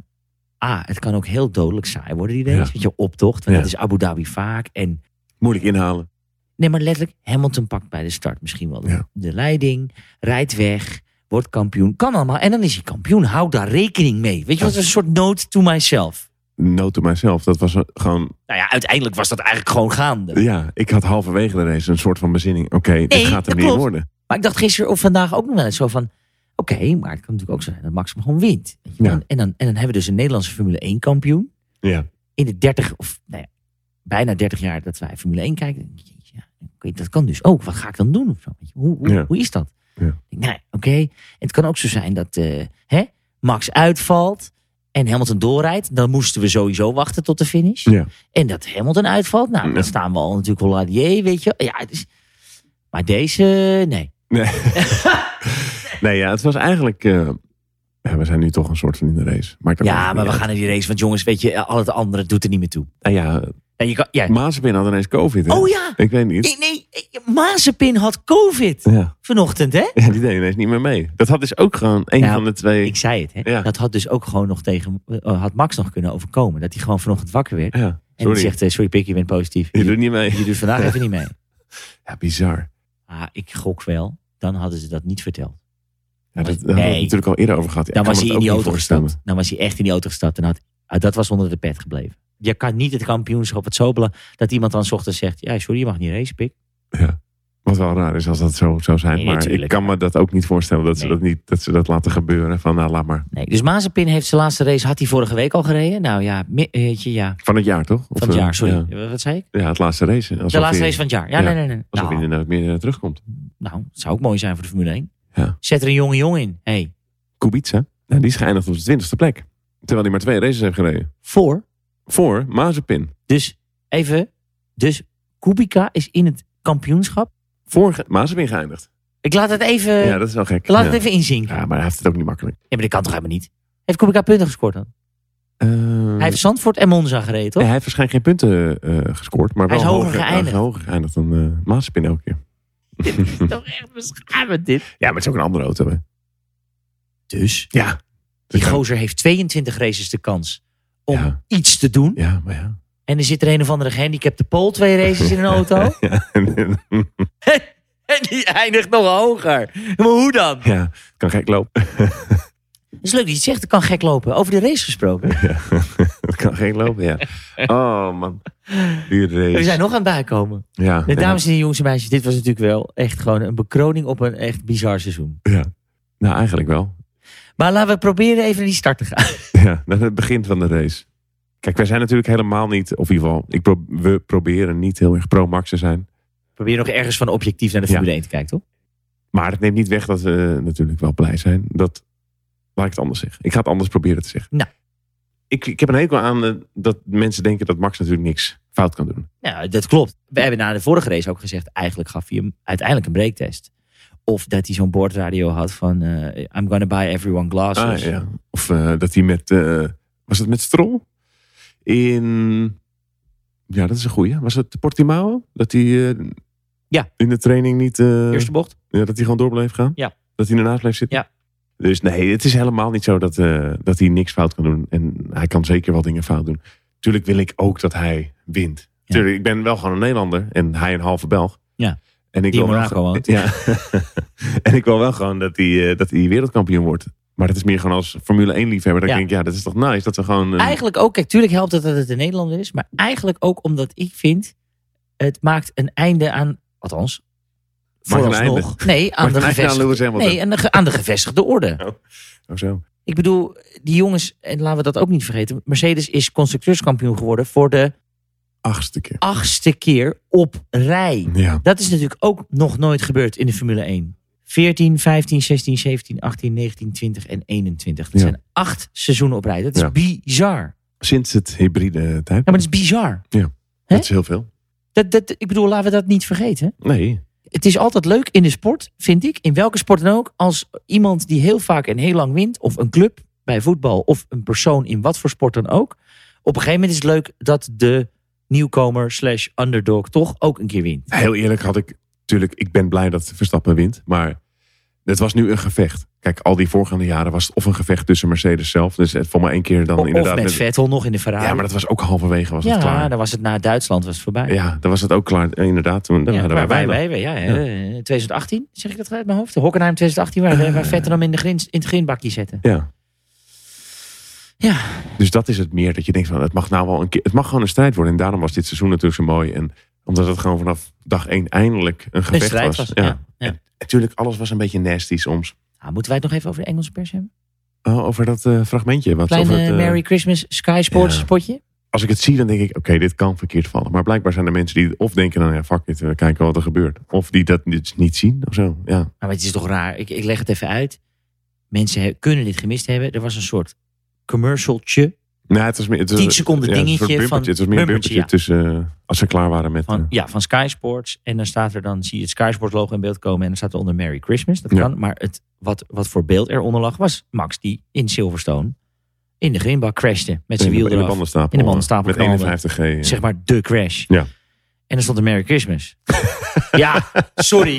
[SPEAKER 3] Ah, het kan ook heel dodelijk saai worden die race.
[SPEAKER 2] Ja.
[SPEAKER 3] Met je optocht, want
[SPEAKER 2] Ja.
[SPEAKER 3] dat is Abu Dhabi vaak. En
[SPEAKER 2] Moeilijk inhalen.
[SPEAKER 3] nee, maar letterlijk, Hamilton pakt bij de start misschien wel de,
[SPEAKER 2] Ja.
[SPEAKER 3] de leiding. Rijdt weg, wordt kampioen. Kan allemaal. En dan is hij kampioen. Hou daar rekening mee. Weet je, wat een soort note to myself.
[SPEAKER 2] Note to myself. Dat was een- gewoon...
[SPEAKER 3] Nou ja, uiteindelijk was dat eigenlijk gewoon gaande.
[SPEAKER 2] Ja, ik had halverwege de race een soort van bezinning. Oké, dit
[SPEAKER 3] Nee,
[SPEAKER 2] gaat
[SPEAKER 3] dat
[SPEAKER 2] er niet
[SPEAKER 3] klopt.
[SPEAKER 2] worden.
[SPEAKER 3] Maar ik dacht gisteren of vandaag ook nog wel eens zo van... Oké, maar het kan natuurlijk ook zo zijn dat Max hem gewoon wint. Weet je wel?
[SPEAKER 2] Ja.
[SPEAKER 3] En, dan, en dan hebben we dus een Nederlandse Formule 1 kampioen.
[SPEAKER 2] Ja.
[SPEAKER 3] In de 30 of nou ja, bijna 30 jaar dat wij Formule 1 kijken. denk ik, jeetje, ja, oké, dat kan dus ook. Wat ga ik dan doen? Of zo? Weet je, Hoe, hoe,
[SPEAKER 2] Ja.
[SPEAKER 3] hoe is dat?
[SPEAKER 2] Ja.
[SPEAKER 3] Ik denk, Nou, ja, oké. En Het kan ook zo zijn dat eh, hè, Max uitvalt en Hamilton doorrijdt. Dan moesten we sowieso wachten tot de finish.
[SPEAKER 2] Ja.
[SPEAKER 3] En dat Hamilton uitvalt. Nou,
[SPEAKER 2] Ja.
[SPEAKER 3] dan staan we al natuurlijk Holladier, weet je. Ja, het is- Maar deze, nee.
[SPEAKER 2] Nee. nee, ja, het was eigenlijk... eh, ja, we zijn nu toch een soort van in de race. Maakt ook
[SPEAKER 3] Ja,
[SPEAKER 2] echt
[SPEAKER 3] maar we
[SPEAKER 2] niet
[SPEAKER 3] gaan naar die race. Want jongens, weet je, eh, al het andere doet er niet meer toe.
[SPEAKER 2] uit. Nou ja,
[SPEAKER 3] En je kan, ja.
[SPEAKER 2] Mazepin had ineens COVID. hè?
[SPEAKER 3] Oh ja,
[SPEAKER 2] Ik weet niet.
[SPEAKER 3] nee, nee, eh, Mazepin had COVID
[SPEAKER 2] Ja.
[SPEAKER 3] vanochtend, hè?
[SPEAKER 2] ja, die deed ineens niet meer mee. Dat had dus ook gewoon een
[SPEAKER 3] Nou,
[SPEAKER 2] van de twee.
[SPEAKER 3] Ik zei het, hè?
[SPEAKER 2] Ja.
[SPEAKER 3] Dat had dus ook gewoon nog tegen, eh, had Max nog kunnen overkomen. Dat hij gewoon vanochtend wakker werd.
[SPEAKER 2] Ja,
[SPEAKER 3] En die
[SPEAKER 2] sorry.
[SPEAKER 3] zegt, eh, sorry Pik, je bent positief.
[SPEAKER 2] Je
[SPEAKER 3] Je,
[SPEAKER 2] doet niet mee.
[SPEAKER 3] je doet vandaag even niet mee.
[SPEAKER 2] Ja, bizar.
[SPEAKER 3] Ah, ik gok wel. Dan hadden ze dat niet verteld.
[SPEAKER 2] Ja, dat, daar
[SPEAKER 3] Nee.
[SPEAKER 2] hadden we het natuurlijk al eerder over gehad. Ja,
[SPEAKER 3] Dan
[SPEAKER 2] ik kan
[SPEAKER 3] was
[SPEAKER 2] me
[SPEAKER 3] hij in
[SPEAKER 2] het
[SPEAKER 3] die
[SPEAKER 2] ook
[SPEAKER 3] auto
[SPEAKER 2] niet voorstellen.
[SPEAKER 3] gestapt. Dan was hij echt in die auto gestapt. En had, ah, dat was onder de pet gebleven. Je kan niet het kampioenschap, het sobelen, dat iemand dan 's ochtends zegt, ja, sorry, je mag niet racen, Pik.
[SPEAKER 2] Wat wel raar is als dat zo zou zijn.
[SPEAKER 3] Nee,
[SPEAKER 2] maar ik
[SPEAKER 3] natuurlijk.
[SPEAKER 2] kan me dat ook niet voorstellen dat, ze
[SPEAKER 3] Nee.
[SPEAKER 2] dat, niet, dat ze dat laten gebeuren. Van nou, laat maar.
[SPEAKER 3] Nee, dus Mazepin heeft zijn laatste race, had hij vorige week al gereden? Nou ja, mi- weet je, ja.
[SPEAKER 2] Van het jaar toch? Of,
[SPEAKER 3] Van het
[SPEAKER 2] eh,
[SPEAKER 3] jaar, sorry.
[SPEAKER 2] Ja,
[SPEAKER 3] Wat zei ik?
[SPEAKER 2] Ja, het laatste race. Alsof
[SPEAKER 3] De laatste
[SPEAKER 2] hij-
[SPEAKER 3] race van het jaar. Ja,
[SPEAKER 2] ja.
[SPEAKER 3] nee, nee, nee.
[SPEAKER 2] Alsof hij
[SPEAKER 3] Nou,
[SPEAKER 2] inderdaad meer eh, terugkomt.
[SPEAKER 3] nou, het zou ook mooi zijn voor de Formule 1.
[SPEAKER 2] Ja.
[SPEAKER 3] Zet er een jonge jongen in. Hey,
[SPEAKER 2] Kubica, nou, die is geëindigd op de twintigste plek. Terwijl hij maar twee races heeft gereden.
[SPEAKER 3] voor.
[SPEAKER 2] Voor Mazepin.
[SPEAKER 3] Dus even, dus Kubica is in het kampioenschap.
[SPEAKER 2] Voor Ge- Mazepin geëindigd.
[SPEAKER 3] Ik laat het even,
[SPEAKER 2] ja, dat is wel gek.
[SPEAKER 3] Eh, laat
[SPEAKER 2] ja.
[SPEAKER 3] het even inzinken.
[SPEAKER 2] ja, maar hij heeft het ook niet makkelijk.
[SPEAKER 3] Ja, maar dat kan toch helemaal niet? Heeft Kubica punten gescoord dan?
[SPEAKER 2] Eh,
[SPEAKER 3] Hij heeft Zandvoort en Monza gereden, toch?
[SPEAKER 2] nee, hij heeft waarschijnlijk geen punten eh, gescoord. Maar
[SPEAKER 3] Hij
[SPEAKER 2] wel
[SPEAKER 3] is hoger geëindigd.
[SPEAKER 2] hij is hoger geëindigd dan eh Mazepin elke keer.
[SPEAKER 3] toch echt beschamend dit.
[SPEAKER 2] Ja, maar het is ook een andere auto. Hè.
[SPEAKER 3] Dus,
[SPEAKER 2] Ja.
[SPEAKER 3] die gozer heeft 22 races de kans om
[SPEAKER 2] Ja.
[SPEAKER 3] iets te doen.
[SPEAKER 2] Ja, maar ja.
[SPEAKER 3] En er zit er een of andere gehandicapte pol twee races in een auto.
[SPEAKER 2] ja.
[SPEAKER 3] en die eindigt nog hoger. Maar hoe dan?
[SPEAKER 2] ja, kan gek lopen.
[SPEAKER 3] Het is leuk dat je het zegt, het kan gek lopen. Over de race gesproken.
[SPEAKER 2] Ja. Het kan gek lopen, ja. Oh man. Die race.
[SPEAKER 3] We zijn nog aan het bijkomen.
[SPEAKER 2] ja,
[SPEAKER 3] De
[SPEAKER 2] nee.
[SPEAKER 3] dames en heren, jongens en meisjes, dit was natuurlijk wel echt gewoon een bekroning op een echt bizar seizoen.
[SPEAKER 2] Nou, eigenlijk wel.
[SPEAKER 3] Maar laten we proberen even naar die start te gaan.
[SPEAKER 2] Ja, naar het begin van de race. Kijk, wij zijn natuurlijk helemaal niet, of in ieder geval, ik pro- we proberen niet heel erg pro-Max te zijn.
[SPEAKER 3] Probeer nog ergens van objectief naar de
[SPEAKER 2] Ja.
[SPEAKER 3] Formule 1 te kijken, toch?
[SPEAKER 2] Maar het neemt niet weg dat we natuurlijk wel blij zijn. Dat, laat ik het anders zeggen. Ik ga het anders proberen te zeggen.
[SPEAKER 3] Nou.
[SPEAKER 2] Ik, ik heb een hekel aan eh, dat mensen denken dat Max natuurlijk niks fout kan doen.
[SPEAKER 3] Ja, dat klopt. We hebben na de vorige race ook gezegd, eigenlijk gaf hij hem uiteindelijk een breaktest. Of dat hij zo'n boordradio had van, eh, I'm gonna buy everyone glasses.
[SPEAKER 2] Ah, ja. Of eh, dat hij met, eh, was het met Stroll? In, ja dat is een goeie. Was het Portimao? Dat hij eh,
[SPEAKER 3] Ja.
[SPEAKER 2] In de training niet... eh,
[SPEAKER 3] Eerste bocht.
[SPEAKER 2] ja, dat hij gewoon door bleef gaan?
[SPEAKER 3] Ja.
[SPEAKER 2] Dat hij ernaast blijft zitten?
[SPEAKER 3] Ja.
[SPEAKER 2] Dus nee, het is helemaal niet zo dat, eh, dat hij niks fout kan doen. En hij kan zeker wel dingen fout doen. Tuurlijk wil ik ook dat hij wint.
[SPEAKER 3] Ja.
[SPEAKER 2] Tuurlijk, ik ben wel gewoon een Nederlander. En hij een halve Belg.
[SPEAKER 3] Ja.
[SPEAKER 2] En ik
[SPEAKER 3] Die in
[SPEAKER 2] wil wel
[SPEAKER 3] Monaco
[SPEAKER 2] gewoon-
[SPEAKER 3] woont.
[SPEAKER 2] Ja. en ik wil wel gewoon dat hij, eh, dat hij wereldkampioen wordt. Maar dat is meer gewoon als Formule 1 liefhebber. Dan
[SPEAKER 3] Ja.
[SPEAKER 2] denk ik, ja, dat is toch nice dat we gewoon... eh,
[SPEAKER 3] Eigenlijk ook, kijk, tuurlijk helpt het dat het een Nederlander is. Maar eigenlijk ook omdat ik vind, het maakt een einde aan, althans,
[SPEAKER 2] Maakt een
[SPEAKER 3] vooralsnog. Nee, aan
[SPEAKER 2] maar nee,
[SPEAKER 3] de
[SPEAKER 2] nou,
[SPEAKER 3] gevestigde,
[SPEAKER 2] Lewis Hamilton.
[SPEAKER 3] nee, aan de, ge- aan de gevestigde orde.
[SPEAKER 2] Oh, zo.
[SPEAKER 3] Ik bedoel, die jongens, en laten we dat ook niet vergeten. Mercedes is constructeurskampioen geworden voor de
[SPEAKER 2] Achtste keer.
[SPEAKER 3] achtste keer op rij.
[SPEAKER 2] Ja.
[SPEAKER 3] Dat is natuurlijk ook nog nooit gebeurd in de Formule 1. 14, 15, 16, 17, 18, 19, 20 en 21. Dat
[SPEAKER 2] Ja.
[SPEAKER 3] zijn acht seizoenen op rij. Dat is
[SPEAKER 2] Ja.
[SPEAKER 3] bizar. Ja,
[SPEAKER 2] Sinds het hybride tijd.
[SPEAKER 3] maar dat is bizar.
[SPEAKER 2] Dat is heel veel.
[SPEAKER 3] Dat, dat, ik bedoel, laten we dat niet vergeten.
[SPEAKER 2] Nee.
[SPEAKER 3] Het is altijd leuk in de sport, vind ik, in welke sport dan ook, als iemand die heel vaak en heel lang wint, of een club bij voetbal, of een persoon in wat voor sport dan ook. Op een gegeven moment is het leuk dat de nieuwkomer slash underdog toch ook een keer wint.
[SPEAKER 2] Heel eerlijk had ik... Tuurlijk, ik ben blij dat Verstappen wint. Maar het was nu een gevecht. Kijk, al die voorgaande jaren was het of een gevecht tussen Mercedes zelf. Dus het voor maar één keer dan
[SPEAKER 3] Of
[SPEAKER 2] inderdaad... dus-
[SPEAKER 3] met Vettel nog in de Ferrari.
[SPEAKER 2] ja, maar dat was ook halverwege was het
[SPEAKER 3] Ja,
[SPEAKER 2] klaar.
[SPEAKER 3] dan was het na Duitsland was het voorbij.
[SPEAKER 2] Ja, dan was het ook klaar. Eh, Inderdaad, toen dan
[SPEAKER 3] Ja,
[SPEAKER 2] hadden wij
[SPEAKER 3] waar wij,
[SPEAKER 2] weinig.
[SPEAKER 3] wij, wij- ja, hè, eh, 2018, zeg ik dat uit mijn hoofd? De Hockenheim 2018, waar, waar
[SPEAKER 2] Eh.
[SPEAKER 3] Vettel hem in, de grins, in het grindbakje zetten.
[SPEAKER 2] Ja.
[SPEAKER 3] Ja.
[SPEAKER 2] Dus dat is het meer dat je denkt van het mag nou wel een keer, het mag gewoon een strijd worden. En daarom was dit seizoen natuurlijk zo mooi. En omdat het gewoon vanaf dag één eindelijk een
[SPEAKER 3] Een
[SPEAKER 2] gevecht
[SPEAKER 3] strijd was. Ja. Ja.
[SPEAKER 2] En natuurlijk, alles was een beetje nasty soms.
[SPEAKER 3] Nou, moeten wij het nog even over de Engelse pers hebben?
[SPEAKER 2] Oh, over dat eh, fragmentje. Wat,
[SPEAKER 3] Kleine
[SPEAKER 2] over het, eh,
[SPEAKER 3] Merry Christmas Sky Sports
[SPEAKER 2] ja.
[SPEAKER 3] spotje.
[SPEAKER 2] Als ik het zie, dan denk ik, oké, dit kan verkeerd vallen. Maar blijkbaar zijn er mensen die of denken, nou ja, fuck it, we kijken wat er gebeurt. Of die dat dus niet zien of zo. Ja,
[SPEAKER 3] Maar het is toch raar. Ik, ik leg het even uit. Mensen he- kunnen dit gemist hebben. Er was een soort commercialtje
[SPEAKER 2] nou, het was meer, het was,
[SPEAKER 3] 10 seconden
[SPEAKER 2] ja, het was een soort
[SPEAKER 3] dingetje van-
[SPEAKER 2] bumpertje. Het was meer een
[SPEAKER 3] bumpertje,
[SPEAKER 2] bumpertje tussen, eh, als ze klaar waren met...
[SPEAKER 3] van,
[SPEAKER 2] eh,
[SPEAKER 3] ja, van Sky Sports. En dan staat er dan, zie je het Sky Sports logo in beeld komen. En dan staat er onder Merry Christmas. Dat
[SPEAKER 2] Ja.
[SPEAKER 3] kan. Maar het, wat, wat voor beeld eronder lag was Max die in Silverstone in de grindbak crashte. Met zijn
[SPEAKER 2] in,
[SPEAKER 3] wiel
[SPEAKER 2] de, in de
[SPEAKER 3] eraf.
[SPEAKER 2] bandenstapel.
[SPEAKER 3] In de bandenstapel
[SPEAKER 2] Met
[SPEAKER 3] knallen.
[SPEAKER 2] 51G. eh.
[SPEAKER 3] Zeg maar de crash.
[SPEAKER 2] Ja.
[SPEAKER 3] En er stond er Merry Christmas. ja, sorry.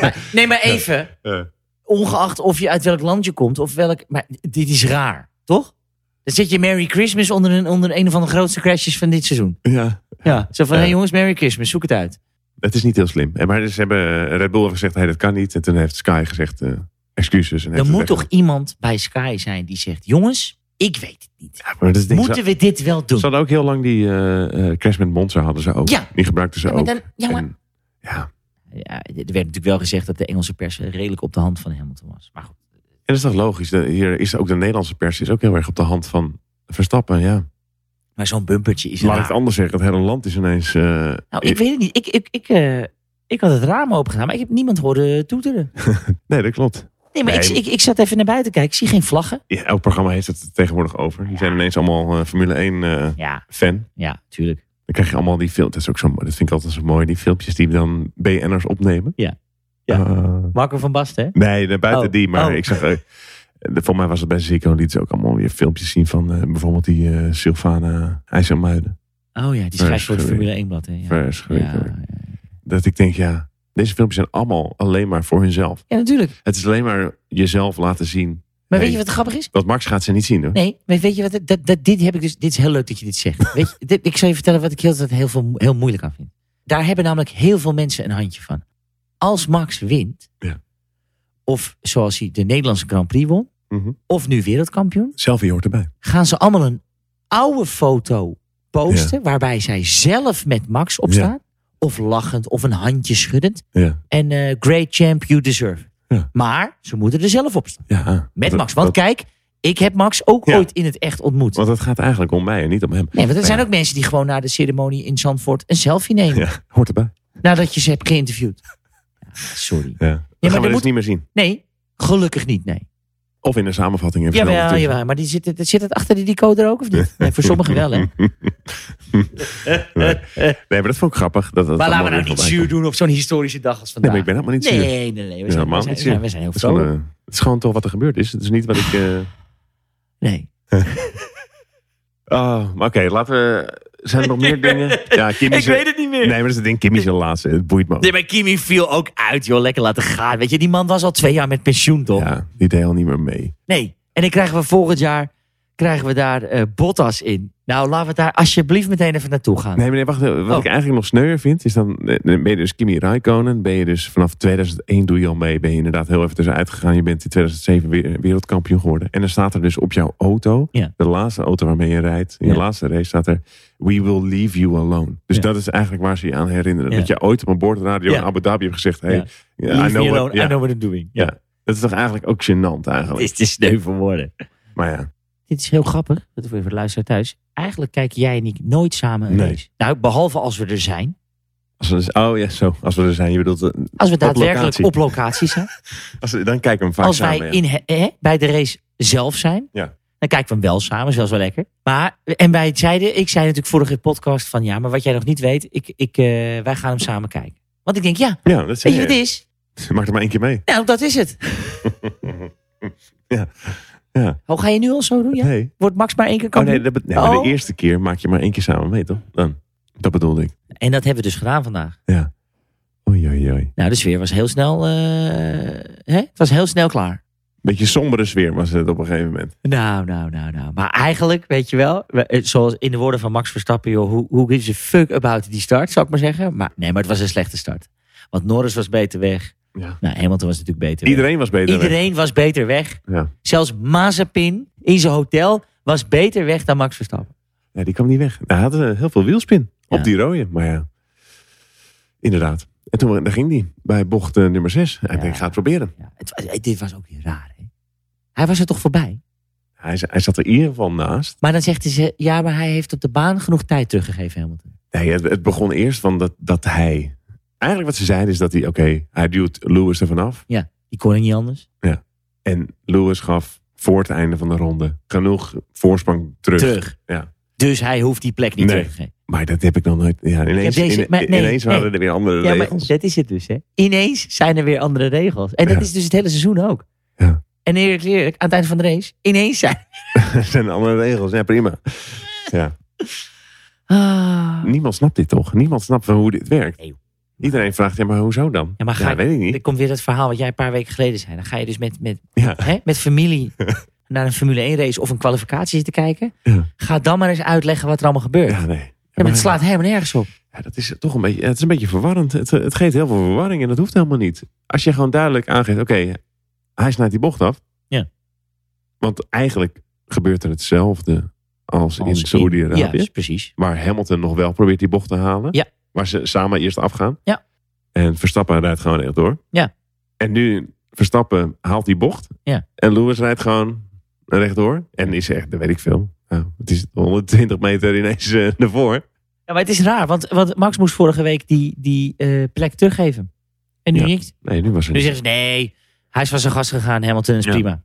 [SPEAKER 3] Maar- nee, maar even.
[SPEAKER 2] Eh.
[SPEAKER 3] ongeacht of je uit welk land je komt of welk. Maar dit is raar, toch? Dan zet je Merry Christmas onder een, onder een van de grootste crashes van dit seizoen.
[SPEAKER 2] Ja,
[SPEAKER 3] Ja. Zo van,
[SPEAKER 2] Ja.
[SPEAKER 3] hé jongens, Merry Christmas, zoek het uit.
[SPEAKER 2] het is niet heel slim. En Maar ze hebben eh, Red Bull heeft gezegd, hey, dat kan niet. En toen heeft Sky gezegd, eh, excuses. En heeft
[SPEAKER 3] Er
[SPEAKER 2] het
[SPEAKER 3] moet
[SPEAKER 2] weg-
[SPEAKER 3] toch iemand bij Sky zijn die zegt, jongens, ik weet het niet.
[SPEAKER 2] Ja, maar dat is ding,
[SPEAKER 3] Moeten we dit wel doen?
[SPEAKER 2] Ze hadden ook heel lang die eh, eh, crash met Monza hadden ze ook.
[SPEAKER 3] Ja.
[SPEAKER 2] Die gebruikten ze
[SPEAKER 3] Ja, maar
[SPEAKER 2] ook.
[SPEAKER 3] dan- ja, maar-
[SPEAKER 2] En, ja.
[SPEAKER 3] Ja, er werd natuurlijk wel gezegd dat de Engelse pers redelijk op de hand van Hamilton was. Maar goed,
[SPEAKER 2] En dat is toch logisch. De- hier is ook de Nederlandse pers is ook heel erg op de hand van Verstappen. Ja.
[SPEAKER 3] maar zo'n bumpertje is
[SPEAKER 2] Laat ik
[SPEAKER 3] raar.
[SPEAKER 2] het anders zeggen. Het hele land is ineens... eh,
[SPEAKER 3] Nou, ik weet het niet. Ik, ik, ik, eh, ik had het raam open gedaan, maar ik heb niemand horen toeteren.
[SPEAKER 2] Nee, dat klopt.
[SPEAKER 3] Nee, maar
[SPEAKER 2] Nee.
[SPEAKER 3] Ik, ik, ik zat even naar buiten kijken. Ik zie geen vlaggen.
[SPEAKER 2] Ja, elk programma heeft het tegenwoordig over. Die zijn ineens allemaal eh, Formule 1 eh,
[SPEAKER 3] Ja,
[SPEAKER 2] fan.
[SPEAKER 3] ja, tuurlijk.
[SPEAKER 2] Dan krijg je allemaal die filmpjes. Dat, is ook zo, mooi. dat vind ik altijd zo mooi. Die filmpjes die dan BN'ers opnemen.
[SPEAKER 3] Ja. Ja.
[SPEAKER 2] Eh,
[SPEAKER 3] Marco van Basten, hè?
[SPEAKER 2] nee, naar buiten
[SPEAKER 3] Oh.
[SPEAKER 2] die. Maar
[SPEAKER 3] Oh.
[SPEAKER 2] ik zag... eh, de- voor mij was het bij Zico. Liet ze ook allemaal weer filmpjes zien van eh, bijvoorbeeld die eh Sylvana IJsselmuiden.
[SPEAKER 3] Oh ja, die schrijft voor het
[SPEAKER 2] Verschrikkelijk.
[SPEAKER 3] Formule 1 blad. Hè? Ja.
[SPEAKER 2] Verschrikkelijk.
[SPEAKER 3] Ja, ja.
[SPEAKER 2] Dat ik denk, ja... Deze filmpjes zijn allemaal alleen maar voor hunzelf.
[SPEAKER 3] Ja, natuurlijk.
[SPEAKER 2] Het is alleen maar jezelf laten zien. Hey.
[SPEAKER 3] Maar weet je wat grappig is?
[SPEAKER 2] Want Max gaat ze niet zien hoor.
[SPEAKER 3] Nee, maar weet je wat? het- Dat, dat, dit, heb ik dus, dit is heel leuk dat je dit zegt. Weet je, dit- ik zal je vertellen wat ik heel, dat heel, veel, mo- heel moeilijk aan vind. Daar hebben namelijk heel veel mensen een handje van. Als Max wint,
[SPEAKER 2] Ja.
[SPEAKER 3] of zoals hij de Nederlandse Grand Prix won,
[SPEAKER 2] Mhm.
[SPEAKER 3] of nu wereldkampioen,
[SPEAKER 2] Selfie hoort erbij.
[SPEAKER 3] gaan ze allemaal een oude foto posten waarbij zij zelf met Max op
[SPEAKER 2] Ja.
[SPEAKER 3] staat. Of lachend, of een handje schuddend.
[SPEAKER 2] Ja.
[SPEAKER 3] En eh, great champ, you deserve. it.
[SPEAKER 2] Ja.
[SPEAKER 3] Maar ze moeten er zelf op staan.
[SPEAKER 2] ja. ah.
[SPEAKER 3] Met
[SPEAKER 2] Dat-
[SPEAKER 3] Max. Want
[SPEAKER 2] dat-
[SPEAKER 3] kijk, ik heb Max ook
[SPEAKER 2] Ja.
[SPEAKER 3] ooit in het echt ontmoet.
[SPEAKER 2] Want het gaat eigenlijk om mij en niet om hem.
[SPEAKER 3] nee, want er
[SPEAKER 2] Maar
[SPEAKER 3] zijn
[SPEAKER 2] ja,
[SPEAKER 3] ook mensen die gewoon na de ceremonie in Zandvoort een selfie nemen.
[SPEAKER 2] Ja, hoort erbij.
[SPEAKER 3] Nadat je ze hebt geïnterviewd. Ja, sorry.
[SPEAKER 2] Ja. Dat
[SPEAKER 3] er
[SPEAKER 2] gaan we dus
[SPEAKER 3] moet-
[SPEAKER 2] niet meer zien.
[SPEAKER 3] Nee, gelukkig niet, nee.
[SPEAKER 2] Of in de samenvatting. even
[SPEAKER 3] Jawel,
[SPEAKER 2] snel
[SPEAKER 3] jawel,
[SPEAKER 2] ertussen.
[SPEAKER 3] maar die zit, eh, zit het achter die decoder ook of niet? Nee, voor sommigen wel, hè.
[SPEAKER 2] nee. nee, maar dat vond ik grappig. Dat, dat
[SPEAKER 3] Maar laten
[SPEAKER 2] allemaal
[SPEAKER 3] we nou
[SPEAKER 2] weer
[SPEAKER 3] niet
[SPEAKER 2] voorbij
[SPEAKER 3] zuur
[SPEAKER 2] komt.
[SPEAKER 3] doen op zo'n historische dag als
[SPEAKER 2] Nee,
[SPEAKER 3] vandaag.
[SPEAKER 2] maar ik ben helemaal niet zuur. Het
[SPEAKER 3] Nee, nee, nee. We zijn, we
[SPEAKER 2] helemaal
[SPEAKER 3] zijn,
[SPEAKER 2] niet
[SPEAKER 3] we
[SPEAKER 2] zuur.
[SPEAKER 3] zijn, we zijn heel
[SPEAKER 2] is gewoon,
[SPEAKER 3] vrolijk.
[SPEAKER 2] eh, Het is gewoon toch wat er gebeurd is. Het is niet wat ik... eh,
[SPEAKER 3] Nee.
[SPEAKER 2] Oh, maar oké, laten we. Zijn er nog meer dingen? Ja, Kimmy
[SPEAKER 3] Ik
[SPEAKER 2] zijn-
[SPEAKER 3] weet het niet meer.
[SPEAKER 2] Nee, maar dat is het ding. Kimmy is de laatste. Het boeit me. ook.
[SPEAKER 3] Nee, maar Kimi viel ook uit, joh. Lekker laten gaan. Weet je, die man was al twee jaar met pensioen, toch?
[SPEAKER 2] Ja, die deed al niet meer mee.
[SPEAKER 3] Nee. En dan krijgen we volgend jaar krijgen we daar eh, Bottas in. Nou, laten we daar alsjeblieft meteen even naartoe gaan.
[SPEAKER 2] Nee, meneer, wacht. even. Wat
[SPEAKER 3] Oh.
[SPEAKER 2] ik eigenlijk nog sneuier vind, is dan eh, ben je dus Kimi Raikkonen. Ben je dus vanaf 2001 doe je al mee. Ben je inderdaad heel even tussenuit gegaan. Je bent in 2007 weer- wereldkampioen geworden. En dan staat er dus op jouw auto,
[SPEAKER 3] Ja.
[SPEAKER 2] de laatste auto waarmee je rijdt, in
[SPEAKER 3] Ja.
[SPEAKER 2] je laatste race staat er: We will leave you alone. Dus
[SPEAKER 3] Ja.
[SPEAKER 2] dat is eigenlijk waar ze je aan herinneren.
[SPEAKER 3] Ja.
[SPEAKER 2] Dat je ooit op een bordradio
[SPEAKER 3] Ja.
[SPEAKER 2] in Abu Dhabi hebt gezegd: Hey,
[SPEAKER 3] Ja.
[SPEAKER 2] yeah,
[SPEAKER 3] Leave
[SPEAKER 2] I know
[SPEAKER 3] me
[SPEAKER 2] what-
[SPEAKER 3] alone,
[SPEAKER 2] ja.
[SPEAKER 3] I know what I'm doing.
[SPEAKER 2] Ja. Dat is toch eigenlijk ook gênant
[SPEAKER 3] Het
[SPEAKER 2] eigenlijk.
[SPEAKER 3] is te sneu voor woorden.
[SPEAKER 2] Maar ja,
[SPEAKER 3] Dit is heel grappig. Dat voor de luisteraar thuis. Eigenlijk kijken jij en ik nooit samen een
[SPEAKER 2] Nee.
[SPEAKER 3] race. Nou, behalve als we er zijn.
[SPEAKER 2] als we, oh ja, zo. Als we er zijn, je bedoelt, eh,
[SPEAKER 3] Als we daadwerkelijk
[SPEAKER 2] locatie.
[SPEAKER 3] op locatie zijn.
[SPEAKER 2] als, we- dan kijken we hem vaak
[SPEAKER 3] als
[SPEAKER 2] samen.
[SPEAKER 3] wij
[SPEAKER 2] ja.
[SPEAKER 3] in, he- hè, bij de race zelf zijn,
[SPEAKER 2] Ja.
[SPEAKER 3] dan kijken we hem wel samen. Is wel zo lekker. Maar, en wij zeiden, ik zei natuurlijk vorige podcast van ja, maar wat jij nog niet weet, ik, ik, eh, wij gaan hem samen kijken. Want ik denk, ja,
[SPEAKER 2] Ja, dat
[SPEAKER 3] weet
[SPEAKER 2] zeg
[SPEAKER 3] je wat het
[SPEAKER 2] je.
[SPEAKER 3] is?
[SPEAKER 2] Maak er maar één keer mee.
[SPEAKER 3] Nou, dat is het.
[SPEAKER 2] ja.
[SPEAKER 3] Hoe ga je nu al zo doen? Ja?
[SPEAKER 2] Nee.
[SPEAKER 3] Wordt Max maar één keer
[SPEAKER 2] Oh
[SPEAKER 3] kampioen?
[SPEAKER 2] nee, dat bet- ja, maar
[SPEAKER 3] Oh.
[SPEAKER 2] de eerste keer maak je maar één keer samen mee, toch? Dan. Dat bedoelde ik.
[SPEAKER 3] En dat hebben we dus gedaan vandaag.
[SPEAKER 2] Oei, oei, oei.
[SPEAKER 3] Nou, de sfeer was heel snel, eh, hè? het was heel snel klaar.
[SPEAKER 2] Beetje sombere sfeer was het op een gegeven moment.
[SPEAKER 3] Nou, nou, nou, nou. Maar eigenlijk, weet je wel, we- eh, zoals in de woorden van Max Verstappen, joh, who, who gives a fuck about die start, zou ik maar zeggen. Maar nee, maar het was een slechte start. Want Norris was beter weg.
[SPEAKER 2] Ja.
[SPEAKER 3] Nou, Hamilton was natuurlijk beter weg.
[SPEAKER 2] Iedereen was beter. weg.
[SPEAKER 3] Iedereen was beter weg.
[SPEAKER 2] Ja.
[SPEAKER 3] Zelfs Mazepin in zijn hotel was beter weg dan Max Verstappen.
[SPEAKER 2] Ja, die kwam niet weg. Hij had eh, heel veel wielspin
[SPEAKER 3] Ja.
[SPEAKER 2] op die rode, maar ja. Inderdaad. En toen daar ging die bij bocht eh, nummer 6. Hij
[SPEAKER 3] Ja.
[SPEAKER 2] denkt, ik ga het proberen.
[SPEAKER 3] Ja, het, was- eh, dit was ook weer raar, hè? Hij was er toch voorbij?
[SPEAKER 2] Hij, z- hij zat er in ieder geval naast.
[SPEAKER 3] Maar dan zegt hij, ze, ja, maar hij heeft op de baan genoeg tijd teruggegeven, Hamilton.
[SPEAKER 2] Nee, het, het begon eerst van dat, dat hij... Eigenlijk wat ze zeiden is dat hij, oké, hij duwt Lewis er vanaf.
[SPEAKER 3] Die kon er niet anders.
[SPEAKER 2] En Lewis gaf voor het einde van de ronde genoeg voorsprong terug. Ja.
[SPEAKER 3] Dus hij hoeft die plek niet
[SPEAKER 2] Nee.
[SPEAKER 3] terug te geven.
[SPEAKER 2] Maar dat heb ik nog nooit... Ja, ineens,
[SPEAKER 3] Ja, deze-
[SPEAKER 2] ine-
[SPEAKER 3] maar nee,
[SPEAKER 2] ineens
[SPEAKER 3] nee.
[SPEAKER 2] waren er weer andere
[SPEAKER 3] Ja, maar
[SPEAKER 2] regels.
[SPEAKER 3] dat is het dus, hè. Ineens zijn er weer andere regels. En dat
[SPEAKER 2] Ja.
[SPEAKER 3] is dus het hele seizoen ook.
[SPEAKER 2] Ja.
[SPEAKER 3] En eerlijk, eerlijk, aan het eind van de race, ineens zijn...
[SPEAKER 2] Er zijn andere regels. Ja, prima. Ja.
[SPEAKER 3] Ah.
[SPEAKER 2] Niemand snapt dit toch? Niemand snapt van hoe dit werkt.
[SPEAKER 3] Nee.
[SPEAKER 2] Iedereen vraagt, ja, maar hoezo dan?
[SPEAKER 3] Ja, maar ga ik-
[SPEAKER 2] weet ik niet.
[SPEAKER 3] Er komt weer dat verhaal wat jij een paar weken geleden zei. Dan ga je dus met, met,
[SPEAKER 2] Ja.
[SPEAKER 3] hè, met familie naar een Formule 1 race of een kwalificatie zitten kijken.
[SPEAKER 2] Ja.
[SPEAKER 3] Ga dan maar eens uitleggen wat er allemaal gebeurt. Ja,
[SPEAKER 2] Ja, nee.
[SPEAKER 3] maar het
[SPEAKER 2] Maar-
[SPEAKER 3] slaat helemaal nergens op.
[SPEAKER 2] Ja, dat is toch een beetje, het is een beetje verwarrend. Het, het geeft heel veel verwarring en dat hoeft helemaal niet. Als je gewoon duidelijk aangeeft, oké, hij snijdt die bocht af.
[SPEAKER 3] Ja.
[SPEAKER 2] Want eigenlijk gebeurt er hetzelfde als,
[SPEAKER 3] Als
[SPEAKER 2] in Saoedi-Arabië.
[SPEAKER 3] Ja, precies.
[SPEAKER 2] Waar Hamilton nog wel probeert die bocht te halen.
[SPEAKER 3] Ja.
[SPEAKER 2] Waar ze samen eerst afgaan.
[SPEAKER 3] Ja.
[SPEAKER 2] En Verstappen rijdt gewoon echt door.
[SPEAKER 3] Ja.
[SPEAKER 2] En nu Verstappen haalt die bocht.
[SPEAKER 3] Ja.
[SPEAKER 2] En Lewis rijdt gewoon rechtdoor. En is echt, dat weet ik veel. Nou, het is 120 meter ineens eh, naar voren.
[SPEAKER 3] Ja, maar het is raar, want, want Max moest vorige week die, die eh, plek teruggeven. En nu
[SPEAKER 2] Ja.
[SPEAKER 3] niet.
[SPEAKER 2] Nee, nu was er
[SPEAKER 3] Nu
[SPEAKER 2] niet.
[SPEAKER 3] zeggen ze, nee, hij is van zijn gas gegaan, Hamilton is
[SPEAKER 2] Ja.
[SPEAKER 3] prima.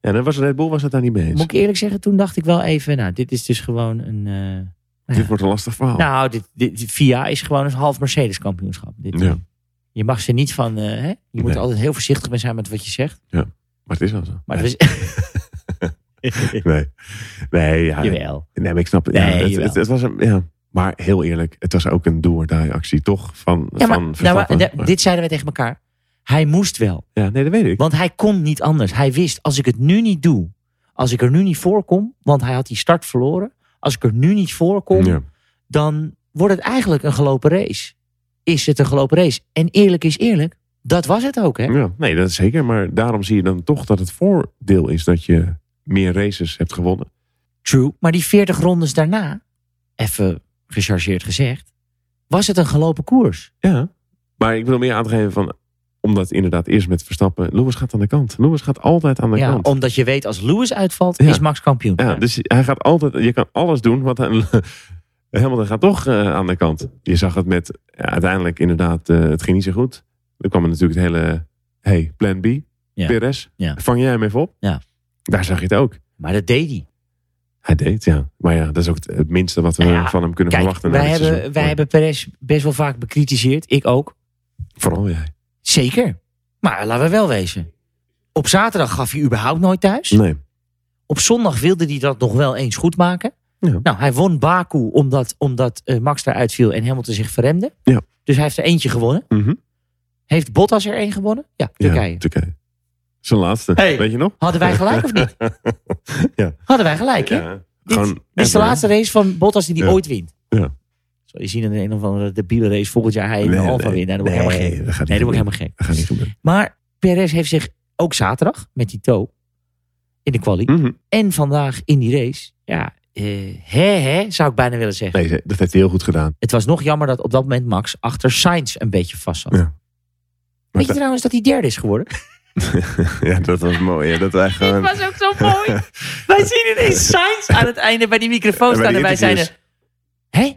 [SPEAKER 2] En dan was Red Bull was het daar niet mee eens.
[SPEAKER 3] Moet ik eerlijk zeggen, toen dacht ik wel even, nou, dit is dus gewoon een... eh,
[SPEAKER 2] Dit wordt een lastig verhaal.
[SPEAKER 3] Nou, dit, dit, VIA is gewoon een half Mercedes kampioenschap. Dit,
[SPEAKER 2] Ja.
[SPEAKER 3] Je mag ze niet van, eh, hè? je moet
[SPEAKER 2] Nee.
[SPEAKER 3] er altijd heel voorzichtig mee zijn met wat je zegt.
[SPEAKER 2] Maar het is wel zo.
[SPEAKER 3] Maar
[SPEAKER 2] nee.
[SPEAKER 3] het was,
[SPEAKER 2] nee. Nee, ja. nee,
[SPEAKER 3] jawel.
[SPEAKER 2] maar ik snap het.
[SPEAKER 3] Nee,
[SPEAKER 2] Ja, het,
[SPEAKER 3] jawel.
[SPEAKER 2] het, het was een, ja. Maar heel eerlijk, het was ook een do-or-die actie, toch? Van, van
[SPEAKER 3] Ja, maar, nou, maar,
[SPEAKER 2] Verstappen.
[SPEAKER 3] da- dit zeiden wij tegen elkaar. Hij moest wel,
[SPEAKER 2] Ja, nee, dat weet ik.
[SPEAKER 3] want hij kon niet anders. Hij wist, als ik het nu niet doe, als ik er nu niet voorkom, want hij had die start verloren. Als ik er nu niet voorkom,
[SPEAKER 2] Ja.
[SPEAKER 3] dan wordt het eigenlijk een gelopen race. Is het een gelopen race? En eerlijk is eerlijk, dat was het ook, hè?
[SPEAKER 2] Ja, nee, dat is zeker. Maar daarom zie je dan toch dat het voordeel is dat je meer races hebt gewonnen.
[SPEAKER 3] True. Maar die 40 rondes daarna, even gechargeerd gezegd, was het een gelopen koers.
[SPEAKER 2] Ja. Maar ik wil meer aan te geven van omdat het inderdaad eerst met Verstappen. Lewis gaat aan de kant. Lewis gaat altijd aan de
[SPEAKER 3] Ja,
[SPEAKER 2] kant.
[SPEAKER 3] omdat je weet, als Lewis uitvalt,
[SPEAKER 2] Ja.
[SPEAKER 3] is Max kampioen.
[SPEAKER 2] Ja, dus hij gaat altijd, je kan alles doen, want hij, Hamilton gaat toch eh, aan de kant. Je zag het met, ja, uiteindelijk inderdaad, eh, het ging niet zo goed. Dan kwam er natuurlijk het hele, hey, plan B,
[SPEAKER 3] Ja.
[SPEAKER 2] PRS,
[SPEAKER 3] Ja.
[SPEAKER 2] vang jij hem even op?
[SPEAKER 3] Ja.
[SPEAKER 2] Daar zag je het ook.
[SPEAKER 3] Maar dat deed hij.
[SPEAKER 2] Hij deed, ja. Maar ja, dat is ook het, het minste wat we
[SPEAKER 3] Nou ja,
[SPEAKER 2] van hem kunnen
[SPEAKER 3] Kijk,
[SPEAKER 2] verwachten. na
[SPEAKER 3] wij
[SPEAKER 2] dit
[SPEAKER 3] hebben,
[SPEAKER 2] seizoen.
[SPEAKER 3] wij
[SPEAKER 2] Maar
[SPEAKER 3] hebben Perez best wel vaak bekritiseerd. Ik ook.
[SPEAKER 2] Vooral jij.
[SPEAKER 3] Zeker. Maar laten we wel wezen. Op zaterdag gaf hij überhaupt nooit thuis.
[SPEAKER 2] Nee,
[SPEAKER 3] Op zondag wilde hij dat nog wel eens goed maken.
[SPEAKER 2] Ja.
[SPEAKER 3] Nou, hij won Baku omdat, omdat eh, Max daaruit viel en Hamilton zich verremde.
[SPEAKER 2] Ja.
[SPEAKER 3] Dus hij heeft er eentje gewonnen.
[SPEAKER 2] Mhm.
[SPEAKER 3] Heeft Bottas er één gewonnen? Ja,
[SPEAKER 2] Ja,
[SPEAKER 3] Turkije.
[SPEAKER 2] Turkije. Zijn laatste.
[SPEAKER 3] Hey.
[SPEAKER 2] Weet je nog?
[SPEAKER 3] Hadden wij gelijk of niet?
[SPEAKER 2] Ja.
[SPEAKER 3] Hadden wij gelijk, hè?
[SPEAKER 2] Gewoon
[SPEAKER 3] Dit is de
[SPEAKER 2] ever, hè?
[SPEAKER 3] laatste race van Bottas die die
[SPEAKER 2] Ja.
[SPEAKER 3] ooit wint.
[SPEAKER 2] Ja.
[SPEAKER 3] Zal je zien in een of andere debiele race volgend jaar hij in
[SPEAKER 2] Nee,
[SPEAKER 3] de Alfa
[SPEAKER 2] nee,
[SPEAKER 3] wint. Nou, dan
[SPEAKER 2] nee,
[SPEAKER 3] word ik helemaal gek.
[SPEAKER 2] dat gaat
[SPEAKER 3] Nee,
[SPEAKER 2] niet
[SPEAKER 3] dan word ik
[SPEAKER 2] gebeuren.
[SPEAKER 3] helemaal gek.
[SPEAKER 2] Dat gaat niet gebeuren.
[SPEAKER 3] Maar Perez heeft zich ook zaterdag met die toe in de quali.
[SPEAKER 2] Mhm.
[SPEAKER 3] En vandaag in die race. Ja, eh, hè hè, zou ik bijna willen zeggen.
[SPEAKER 2] Nee, ze- dat heeft hij heel goed gedaan.
[SPEAKER 3] Het was nog jammer dat op dat moment Max achter Sainz een beetje vast zat.
[SPEAKER 2] Ja, Maar
[SPEAKER 3] Weet je trouwens dat hij derde is geworden?
[SPEAKER 2] ja, dat was mooi. hè. Dat wij
[SPEAKER 3] Het
[SPEAKER 2] gewoon...
[SPEAKER 3] was ook zo mooi. wij zien ineens Sainz aan het einde bij die microfoon
[SPEAKER 2] En bij
[SPEAKER 3] staan.
[SPEAKER 2] die
[SPEAKER 3] En wij zijn er.
[SPEAKER 2] interviews.
[SPEAKER 3] Hé?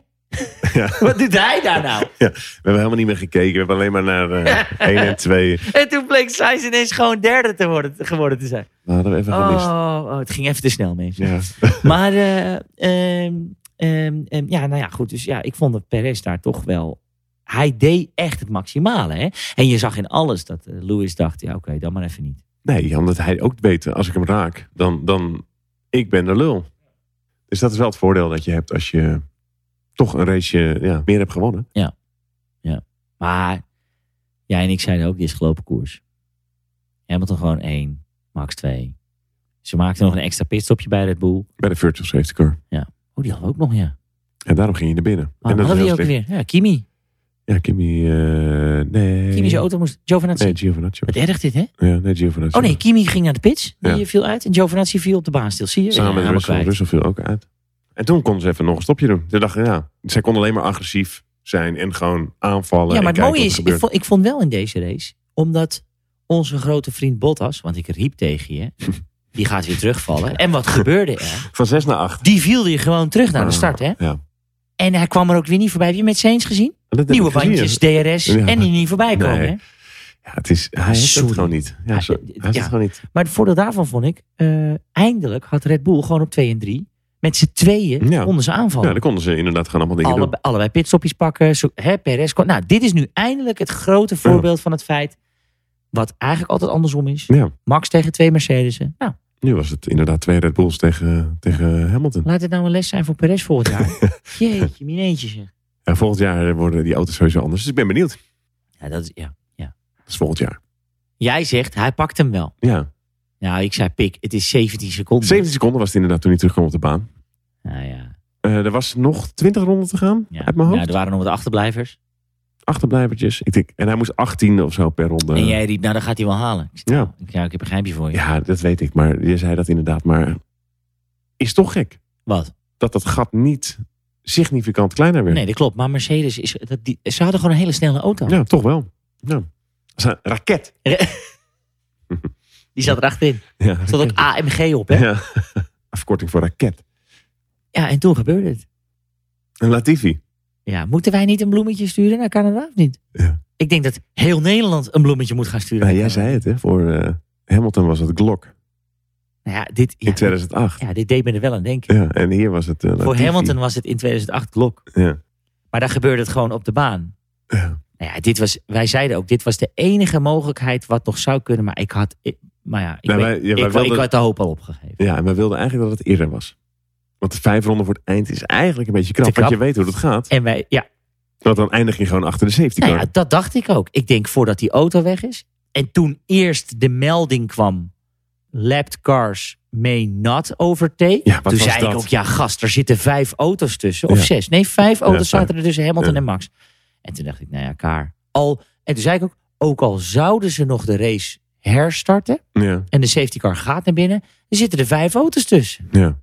[SPEAKER 2] Ja.
[SPEAKER 3] Wat doet hij daar nou?
[SPEAKER 2] We hebben helemaal niet meer gekeken. We hebben alleen maar naar eh 1 en 2.
[SPEAKER 3] En toen bleek Sainz ineens gewoon derde te worden, geworden te zijn.
[SPEAKER 2] We hadden we even gemist.
[SPEAKER 3] Oh, oh, het ging even te snel, mensen.
[SPEAKER 2] Ja.
[SPEAKER 3] Maar eh, ehm, ehm, ehm, ja, nou ja, goed. Dus ja, ik vond dat Perez daar toch wel... Hij deed echt het maximale. Hè? En je zag in alles dat eh, Lewis dacht... Ja, oké, dan maar even niet.
[SPEAKER 2] Nee, omdat hij ook weet, als ik hem raak, dan, dan ik ben de lul. Dus dat is wel het voordeel dat je hebt als je toch een race ja, meer hebt gewonnen.
[SPEAKER 3] Maar jij en ik zeiden ook, dit is gelopen koers. Hamilton gewoon één, Max twee. Ze maakten nog een extra pitstopje bij Red Bull.
[SPEAKER 2] Bij de virtual safety car.
[SPEAKER 3] Oh, die hadden we ook nog, ja.
[SPEAKER 2] En daarom ging je naar binnen.
[SPEAKER 3] Maar
[SPEAKER 2] en
[SPEAKER 3] hadden we
[SPEAKER 2] is
[SPEAKER 3] die
[SPEAKER 2] heel
[SPEAKER 3] ook
[SPEAKER 2] slecht.
[SPEAKER 3] weer? Ja, Kimi.
[SPEAKER 2] Ja, Kimi... eh nee.
[SPEAKER 3] Kimi zijn auto moest... Giovinazzi.
[SPEAKER 2] Nee, Giovinazzi.
[SPEAKER 3] Wat erg dit, hè?
[SPEAKER 2] Ja, nee, Giovinazzi.
[SPEAKER 3] Oh nee, Kimi ging naar de pits. Die
[SPEAKER 2] Ja.
[SPEAKER 3] viel uit. En Giovinazzi viel op de baan stil. Zie je? Ja,
[SPEAKER 2] Samen met
[SPEAKER 3] helemaal
[SPEAKER 2] Russell.
[SPEAKER 3] kwijt.
[SPEAKER 2] Russell viel ook uit. En toen kon ze even nog een stopje doen. Ze dachten, ja, zij kon alleen maar agressief zijn en gewoon aanvallen.
[SPEAKER 3] Ja, maar
[SPEAKER 2] en
[SPEAKER 3] het
[SPEAKER 2] kijken
[SPEAKER 3] mooie
[SPEAKER 2] eh, wat
[SPEAKER 3] is,
[SPEAKER 2] er
[SPEAKER 3] ik
[SPEAKER 2] gebeurt.
[SPEAKER 3] vond, ik vond wel in deze race, omdat onze grote vriend Bottas, want ik riep tegen je, die gaat weer terugvallen. En wat gebeurde er?
[SPEAKER 2] Van 6 naar 8.
[SPEAKER 3] Die viel je gewoon terug naar de
[SPEAKER 2] Ah,
[SPEAKER 3] start, hè?
[SPEAKER 2] ja.
[SPEAKER 3] En hij kwam er ook weer niet voorbij. Heb je met Sainz gezien? Nieuwe bandjes, DRS
[SPEAKER 2] Ja.
[SPEAKER 3] en die niet voorbij komen.
[SPEAKER 2] Nee.
[SPEAKER 3] Hè?
[SPEAKER 2] Ja, het is, hij heeft
[SPEAKER 3] Sorry.
[SPEAKER 2] het gewoon niet. Ja,
[SPEAKER 3] Hij-
[SPEAKER 2] zo- hij heeft
[SPEAKER 3] ja.
[SPEAKER 2] het gewoon niet.
[SPEAKER 3] Maar het voordeel daarvan vond ik, eh, eindelijk had Red Bull gewoon op 2 en 3 met z'n tweeën
[SPEAKER 2] Ja.
[SPEAKER 3] onder ze aanvallen.
[SPEAKER 2] Ja, dan konden ze inderdaad gewoon allemaal dingen
[SPEAKER 3] Oh. Allebei, allebei pitstopjes pakken. Zo, hè, Perez kon- Nou, dit is nu eindelijk het grote voorbeeld van het feit. Wat eigenlijk altijd andersom is.
[SPEAKER 2] doen. Ja,
[SPEAKER 3] Max tegen twee Mercedes'en. Nou,
[SPEAKER 2] nu was het inderdaad twee Red Bulls tegen, tegen Hamilton.
[SPEAKER 3] laat het nou een les zijn voor Perez volgend jaar. Jeetje, mineentje zeg.
[SPEAKER 2] Ja, volgend jaar worden die auto's sowieso anders. Dus ik ben benieuwd.
[SPEAKER 3] Ja, dat is, ja.
[SPEAKER 2] Dat is volgend jaar.
[SPEAKER 3] Jij zegt, hij pakt hem wel.
[SPEAKER 2] Ja,
[SPEAKER 3] Nou, ik zei pik, het is 17 seconden.
[SPEAKER 2] 17 seconden was het inderdaad toen hij terugkwam op de baan.
[SPEAKER 3] Nou ja.
[SPEAKER 2] Eh, er was nog 20 ronden te gaan
[SPEAKER 3] ja.
[SPEAKER 2] uit mijn hoofd.
[SPEAKER 3] Nou, er waren nog wat achterblijvers.
[SPEAKER 2] Achterblijvertjes. Ik denk, en hij moest 18 of zo per ronde.
[SPEAKER 3] En jij riep, nou, dan gaat hij wel halen. Ik zei,
[SPEAKER 2] Ja.
[SPEAKER 3] nou, ik- ja, ik heb een geheimje voor je.
[SPEAKER 2] Ja, dat weet ik. Maar je zei dat inderdaad. Maar is toch gek
[SPEAKER 3] Wat?
[SPEAKER 2] dat dat gat niet significant kleiner werd.
[SPEAKER 3] Nee, dat klopt. Maar Mercedes, is, dat, die, ze hadden gewoon een hele snelle auto.
[SPEAKER 2] Ja, toch wel. Ja. Dat is een raket.
[SPEAKER 3] Die zat erachterin.
[SPEAKER 2] Ja,
[SPEAKER 3] Er zat ook AMG op, hè?
[SPEAKER 2] Ja. Afkorting voor raket.
[SPEAKER 3] Ja, en toen gebeurde het.
[SPEAKER 2] En Latifi.
[SPEAKER 3] Ja, moeten wij niet een bloemetje sturen naar Canada of niet?
[SPEAKER 2] Ja.
[SPEAKER 3] Ik denk dat heel Nederland een bloemetje moet gaan sturen.
[SPEAKER 2] Nou,
[SPEAKER 3] naar
[SPEAKER 2] jij
[SPEAKER 3] Canada.
[SPEAKER 2] zei het, hè? Voor eh, Hamilton was het Glock
[SPEAKER 3] Nou ja, dit,
[SPEAKER 2] in
[SPEAKER 3] ja,
[SPEAKER 2] 2008.
[SPEAKER 3] ja, dit deed me er wel aan denken.
[SPEAKER 2] Ja, en hier was het. eh,
[SPEAKER 3] Voor
[SPEAKER 2] Latifi.
[SPEAKER 3] Hamilton was het in 2008 Glock.
[SPEAKER 2] Ja.
[SPEAKER 3] Maar daar gebeurde het gewoon op de baan.
[SPEAKER 2] Ja.
[SPEAKER 3] Nou ja, dit was, wij zeiden ook, dit was de enige mogelijkheid wat nog zou kunnen. Maar ik had, ik- maar ja, ik,
[SPEAKER 2] Nou,
[SPEAKER 3] weet-
[SPEAKER 2] wij- ja,
[SPEAKER 3] ik,
[SPEAKER 2] wij
[SPEAKER 3] wa-
[SPEAKER 2] wilden-
[SPEAKER 3] ik had de hoop al opgegeven.
[SPEAKER 2] Ja, en we wilden eigenlijk dat het eerder was. Want vijf ronden voor het eind is eigenlijk een beetje
[SPEAKER 3] Te
[SPEAKER 2] krap. Want je
[SPEAKER 3] krap.
[SPEAKER 2] weet hoe dat gaat.
[SPEAKER 3] En wij, ja,
[SPEAKER 2] Want dan eindig je gewoon achter de safety car.
[SPEAKER 3] nou ja, dat dacht ik ook. Ik denk voordat die auto weg is. En toen eerst de melding kwam, lapped cars may not overtake.
[SPEAKER 2] Ja, wat
[SPEAKER 3] toen
[SPEAKER 2] was
[SPEAKER 3] zei ik
[SPEAKER 2] dat?
[SPEAKER 3] ook, ja gast, er zitten vijf auto's tussen. Of
[SPEAKER 2] Ja.
[SPEAKER 3] zes. Nee, vijf auto's
[SPEAKER 2] vijf.
[SPEAKER 3] zaten er tussen Hamilton
[SPEAKER 2] Ja.
[SPEAKER 3] en Max. En toen dacht ik, nou ja, kaar. Al, en toen zei ik ook, ook al zouden ze nog de race herstarten.
[SPEAKER 2] Ja,
[SPEAKER 3] en de safety car gaat naar binnen, er zitten er vijf auto's tussen.
[SPEAKER 2] ja.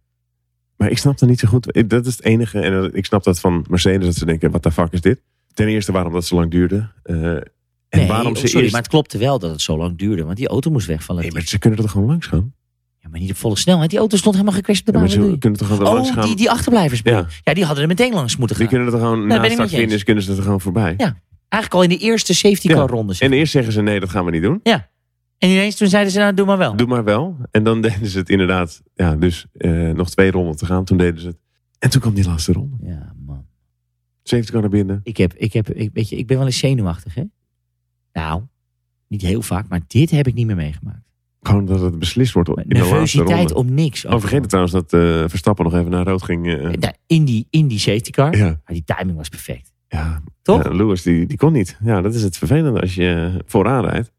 [SPEAKER 2] Maar ik snap dat niet zo goed. Ik- Dat is het enige. En eh, ik snap dat van Mercedes. Dat ze denken, wat de fuck is dit? Ten eerste waarom dat zo lang duurde. eh, en
[SPEAKER 3] Nee,
[SPEAKER 2] waarom
[SPEAKER 3] oh,
[SPEAKER 2] ze
[SPEAKER 3] sorry,
[SPEAKER 2] eerst...
[SPEAKER 3] maar het klopte wel dat het zo lang duurde, want die auto moest weg van
[SPEAKER 2] Nee,
[SPEAKER 3] Latifi.
[SPEAKER 2] maar ze kunnen er gewoon langs gaan.
[SPEAKER 3] Ja, maar niet op volle snelheid. Die auto stond helemaal gecrashed op de
[SPEAKER 2] Ja,
[SPEAKER 3] baan.
[SPEAKER 2] maar ze
[SPEAKER 3] Wat doe je?
[SPEAKER 2] kunnen toch gewoon er langs
[SPEAKER 3] Oh,
[SPEAKER 2] gaan.
[SPEAKER 3] die, die achterblijvers.
[SPEAKER 2] ja,
[SPEAKER 3] Ja, die hadden er meteen langs moeten
[SPEAKER 2] die
[SPEAKER 3] gaan.
[SPEAKER 2] kunnen er gewoon
[SPEAKER 3] ben
[SPEAKER 2] na
[SPEAKER 3] ik met
[SPEAKER 2] start
[SPEAKER 3] je eens.
[SPEAKER 2] finish kunnen ze er gewoon voorbij.
[SPEAKER 3] Ja. Eigenlijk al in de eerste safety
[SPEAKER 2] Ja.
[SPEAKER 3] car ronde. zeg.
[SPEAKER 2] En eerst zeggen ze nee, dat gaan we niet doen.
[SPEAKER 3] En ineens toen zeiden ze, nou doe maar wel.
[SPEAKER 2] Doe maar wel. En dan deden ze het inderdaad. Ja, dus eh, nog twee ronden te gaan. Toen deden ze het. En toen kwam die laatste ronde.
[SPEAKER 3] Ja, man.
[SPEAKER 2] Safety car naar binnen.
[SPEAKER 3] Ik, heb, ik, heb, ik, weet je, ik ben wel eens zenuwachtig, hè? Nou, niet heel vaak, maar dit heb ik niet meer meegemaakt.
[SPEAKER 2] Gewoon dat het beslist wordt in de laatste
[SPEAKER 3] Nervositeit
[SPEAKER 2] ronde.
[SPEAKER 3] om niks.
[SPEAKER 2] Oh, vergeet het trouwens dat eh, Verstappen nog even naar rood ging. eh,
[SPEAKER 3] Nou, in, die, in die safety car.
[SPEAKER 2] ja,
[SPEAKER 3] Maar die timing was perfect.
[SPEAKER 2] ja.
[SPEAKER 3] Toch?
[SPEAKER 2] Ja, Lewis, die, die kon niet. Ja, dat is het vervelende als je eh, vooraan rijdt.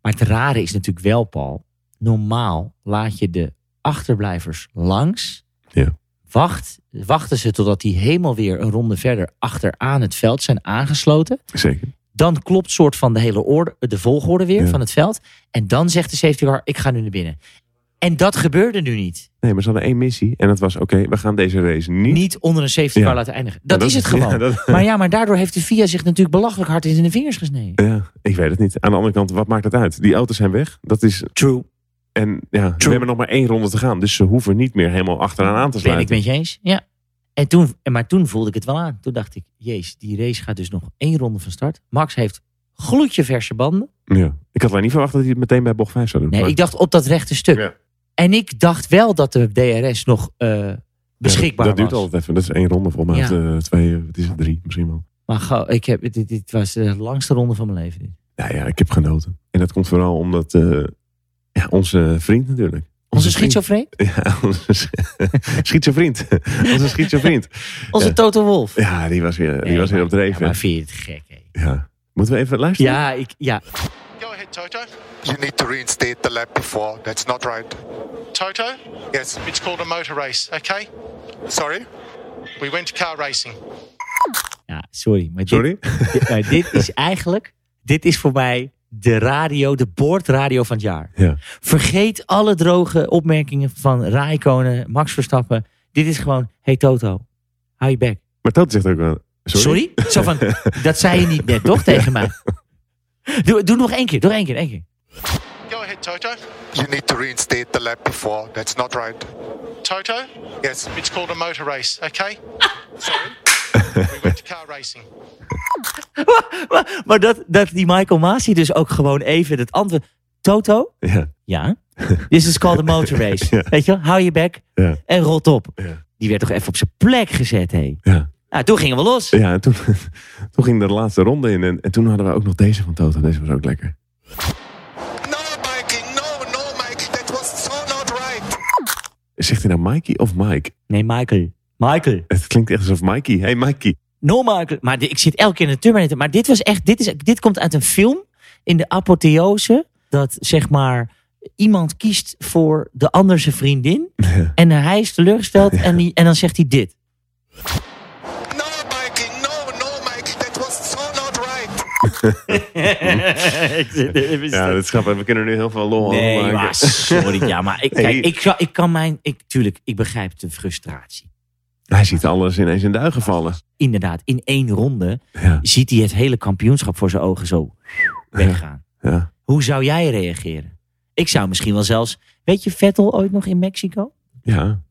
[SPEAKER 3] Maar het rare is natuurlijk wel, Paul. Normaal laat je de achterblijvers langs.
[SPEAKER 2] Ja.
[SPEAKER 3] Wacht, wachten ze totdat die helemaal weer een ronde verder achteraan het veld zijn aangesloten.
[SPEAKER 2] Zeker.
[SPEAKER 3] Dan klopt soort van de hele orde, de volgorde weer
[SPEAKER 2] Ja.
[SPEAKER 3] van het veld. En dan zegt de safety car, ik ga nu naar binnen. En dat gebeurde nu niet.
[SPEAKER 2] Nee, maar ze hadden één missie. En dat was, oké, we gaan deze race niet...
[SPEAKER 3] Niet onder een safety car
[SPEAKER 2] Ja.
[SPEAKER 3] laten eindigen. Dat,
[SPEAKER 2] Ja,
[SPEAKER 3] is het gewoon.
[SPEAKER 2] Ja, dat-
[SPEAKER 3] Maar ja, maar daardoor heeft de VIA zich natuurlijk belachelijk hard in de vingers gesneden.
[SPEAKER 2] ja, ik weet het niet. Aan de andere kant, wat maakt het uit? Die auto's zijn weg. Dat is,
[SPEAKER 3] True.
[SPEAKER 2] en ja, we hebben nog maar één ronde te gaan. Dus ze hoeven niet meer helemaal achteraan aan te
[SPEAKER 3] Ben ik
[SPEAKER 2] sluiten.
[SPEAKER 3] met je eens? Ja. En toen, en maar toen voelde ik het wel aan. Toen dacht ik, jeez, die race gaat dus nog één ronde van start. Max heeft gloedje verse banden.
[SPEAKER 2] ja. ik had alleen niet verwacht dat hij het meteen bij bocht 5 zou doen.
[SPEAKER 3] Nee,
[SPEAKER 2] Maar-
[SPEAKER 3] ik dacht op dat rechte stuk.
[SPEAKER 2] Ja.
[SPEAKER 3] En ik dacht wel dat de DRS nog eh, beschikbaar
[SPEAKER 2] Ja, dat, dat
[SPEAKER 3] was.
[SPEAKER 2] duurt altijd even. Dat is één ronde volgens mij.
[SPEAKER 3] Ja.
[SPEAKER 2] Of, eh, twee, eh, wat is het, drie misschien wel.
[SPEAKER 3] Maar gauw, ik heb, dit, dit was de langste ronde van mijn leven. dit.
[SPEAKER 2] Nou ja, ik heb genoten. En dat komt vooral omdat eh, ja, onze vriend natuurlijk.
[SPEAKER 3] Onze
[SPEAKER 2] vriend.
[SPEAKER 3] schizofreen?
[SPEAKER 2] Ja, onze sch- schietsevriend. onze schietsevriend.
[SPEAKER 3] Onze
[SPEAKER 2] Ja.
[SPEAKER 3] Toto Wolf.
[SPEAKER 2] Ja, die was weer, die
[SPEAKER 3] Nee,
[SPEAKER 2] was weer
[SPEAKER 3] maar-
[SPEAKER 2] op dreef.
[SPEAKER 3] Ja,
[SPEAKER 2] hè.
[SPEAKER 3] maar vind je het gek, hè?
[SPEAKER 2] Ja. Moeten we even luisteren?
[SPEAKER 3] Ja, ik, ja.
[SPEAKER 4] Go ahead, Toto.
[SPEAKER 1] You need to reinstate the lap before. That's not right.
[SPEAKER 4] Toto,
[SPEAKER 1] Yes.
[SPEAKER 4] it's called a motor race, okay?
[SPEAKER 1] Sorry?
[SPEAKER 4] We went to car racing.
[SPEAKER 3] ja, sorry. Maar dit-
[SPEAKER 2] Sorry?
[SPEAKER 3] Dit, maar dit is eigenlijk, dit is voor mij de radio, de boordradio van het jaar.
[SPEAKER 2] Ja.
[SPEAKER 3] Vergeet alle droge opmerkingen van Raikkonen, Max Verstappen. Dit is gewoon, hey Toto, hou je bek.
[SPEAKER 2] Maar Toot zegt ook wel... Sorry?
[SPEAKER 3] Sorry? Zo van, dat zei je niet net toch tegen mij? Doe, doe nog één keer, doe nog één keer, één keer.
[SPEAKER 4] Go ahead, Toto.
[SPEAKER 1] You need to reinstate the lap before. That's not right.
[SPEAKER 4] Toto,
[SPEAKER 1] Yes.
[SPEAKER 4] it's called a motor race, okay? Sorry. we went to car racing.
[SPEAKER 3] Maar, maar dat, dat die Michael Masi dus ook gewoon even het antwoord... Toto?
[SPEAKER 2] Ja.
[SPEAKER 3] Ja. This is called a motor race.
[SPEAKER 2] Ja.
[SPEAKER 3] Weet je wel, hou je bek
[SPEAKER 2] Ja.
[SPEAKER 3] en rot op.
[SPEAKER 2] Ja.
[SPEAKER 3] Die werd toch even op zijn plek gezet, hé.
[SPEAKER 2] Ja.
[SPEAKER 3] Nou, toen gingen we los.
[SPEAKER 2] Ja, en toen, toen ging de laatste ronde in. En, en toen hadden we ook nog deze van Toto. Deze was ook lekker.
[SPEAKER 1] No, Mikey. No, no, Mikey. That was so not right.
[SPEAKER 2] Zegt hij nou Mikey of Mike?
[SPEAKER 3] Nee, Michael. Michael.
[SPEAKER 2] Het klinkt echt alsof Mikey... Hey Mikey.
[SPEAKER 3] No, Michael. Maar di- ik zit elke keer in de Terminator. Maar dit was echt, dit, is, dit komt uit een film in de apotheose. Dat zeg maar iemand kiest voor de ander zijn vriendin. En hij is teleurgesteld en, die, en dan zegt hij dit.
[SPEAKER 1] No, Mikey. No, no, Mikey. That was so not right.
[SPEAKER 3] Ik zit even
[SPEAKER 2] Ja,
[SPEAKER 3] stil.
[SPEAKER 2] dat is grappig. We kunnen er nu heel veel lol aan
[SPEAKER 3] Nee,
[SPEAKER 2] maken.
[SPEAKER 3] maar sorry. Ja, maar ik,
[SPEAKER 2] Nee.
[SPEAKER 3] kijk, ik, zou- ik kan mijn... Ik, tuurlijk, ik begrijp de frustratie.
[SPEAKER 2] Hij ziet alles ineens in duigen vallen.
[SPEAKER 3] Inderdaad, in één ronde
[SPEAKER 2] Ja,
[SPEAKER 3] ziet hij het hele kampioenschap voor zijn ogen zo weggaan.
[SPEAKER 2] ja.
[SPEAKER 3] Hoe zou jij reageren? Ik zou misschien wel zelfs. Weet je Vettel ooit nog in Mexico?
[SPEAKER 2] ja.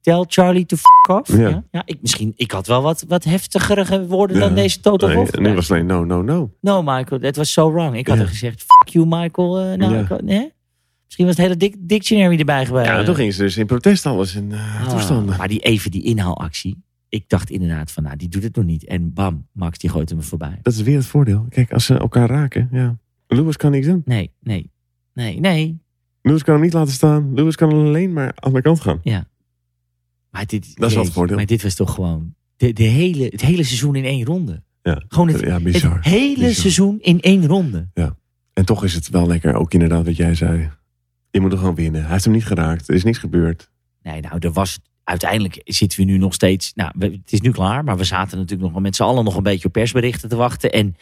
[SPEAKER 3] Tell Charlie to f off.
[SPEAKER 2] Ja.
[SPEAKER 3] Ja. Ja, ik, misschien, ik had wel wat, wat heftigere woorden
[SPEAKER 2] Ja.
[SPEAKER 3] dan deze Toto
[SPEAKER 2] Nee,
[SPEAKER 3] Wolff.
[SPEAKER 2] nu was het alleen no, no, no.
[SPEAKER 3] No, Michael, that was so wrong. Ik had
[SPEAKER 2] Ja.
[SPEAKER 3] er gezegd, fuck you, Michael. eh, nou,
[SPEAKER 2] Ja.
[SPEAKER 3] ik- nee? Misschien was het hele dic dictionary erbij geweest.
[SPEAKER 2] Ja, en toen gingen ze dus in protest alles in eh,
[SPEAKER 3] Eh. Ah,
[SPEAKER 2] toestanden.
[SPEAKER 3] Maar die, even die inhaalactie. Ik dacht inderdaad van, nou, die doet het nog niet. En bam, Max, die gooit hem voorbij.
[SPEAKER 2] Dat is weer het voordeel. Kijk, als ze elkaar raken, ja. Lewis kan niks doen.
[SPEAKER 3] Nee, nee, nee, nee.
[SPEAKER 2] Lewis kan hem niet laten staan. Lewis kan alleen maar aan de kant gaan.
[SPEAKER 3] Maar dit,
[SPEAKER 2] wel het
[SPEAKER 3] jeetje,
[SPEAKER 2] voordeel.
[SPEAKER 3] Maar dit was toch gewoon de, de hele, het hele seizoen in één ronde.
[SPEAKER 2] Ja.
[SPEAKER 3] Gewoon het,
[SPEAKER 2] Ja,
[SPEAKER 3] het
[SPEAKER 2] bizar.
[SPEAKER 3] hele
[SPEAKER 2] Bizar.
[SPEAKER 3] seizoen in één ronde.
[SPEAKER 2] En toch is het wel lekker, ook inderdaad wat jij zei. Je moet er gewoon winnen. Hij heeft hem niet geraakt. Er is niks gebeurd.
[SPEAKER 3] Nee, nou, er was, uiteindelijk zitten we nu nog steeds... Nou, we- het is nu klaar, maar we zaten natuurlijk nog wel met z'n allen nog een beetje op persberichten te wachten. En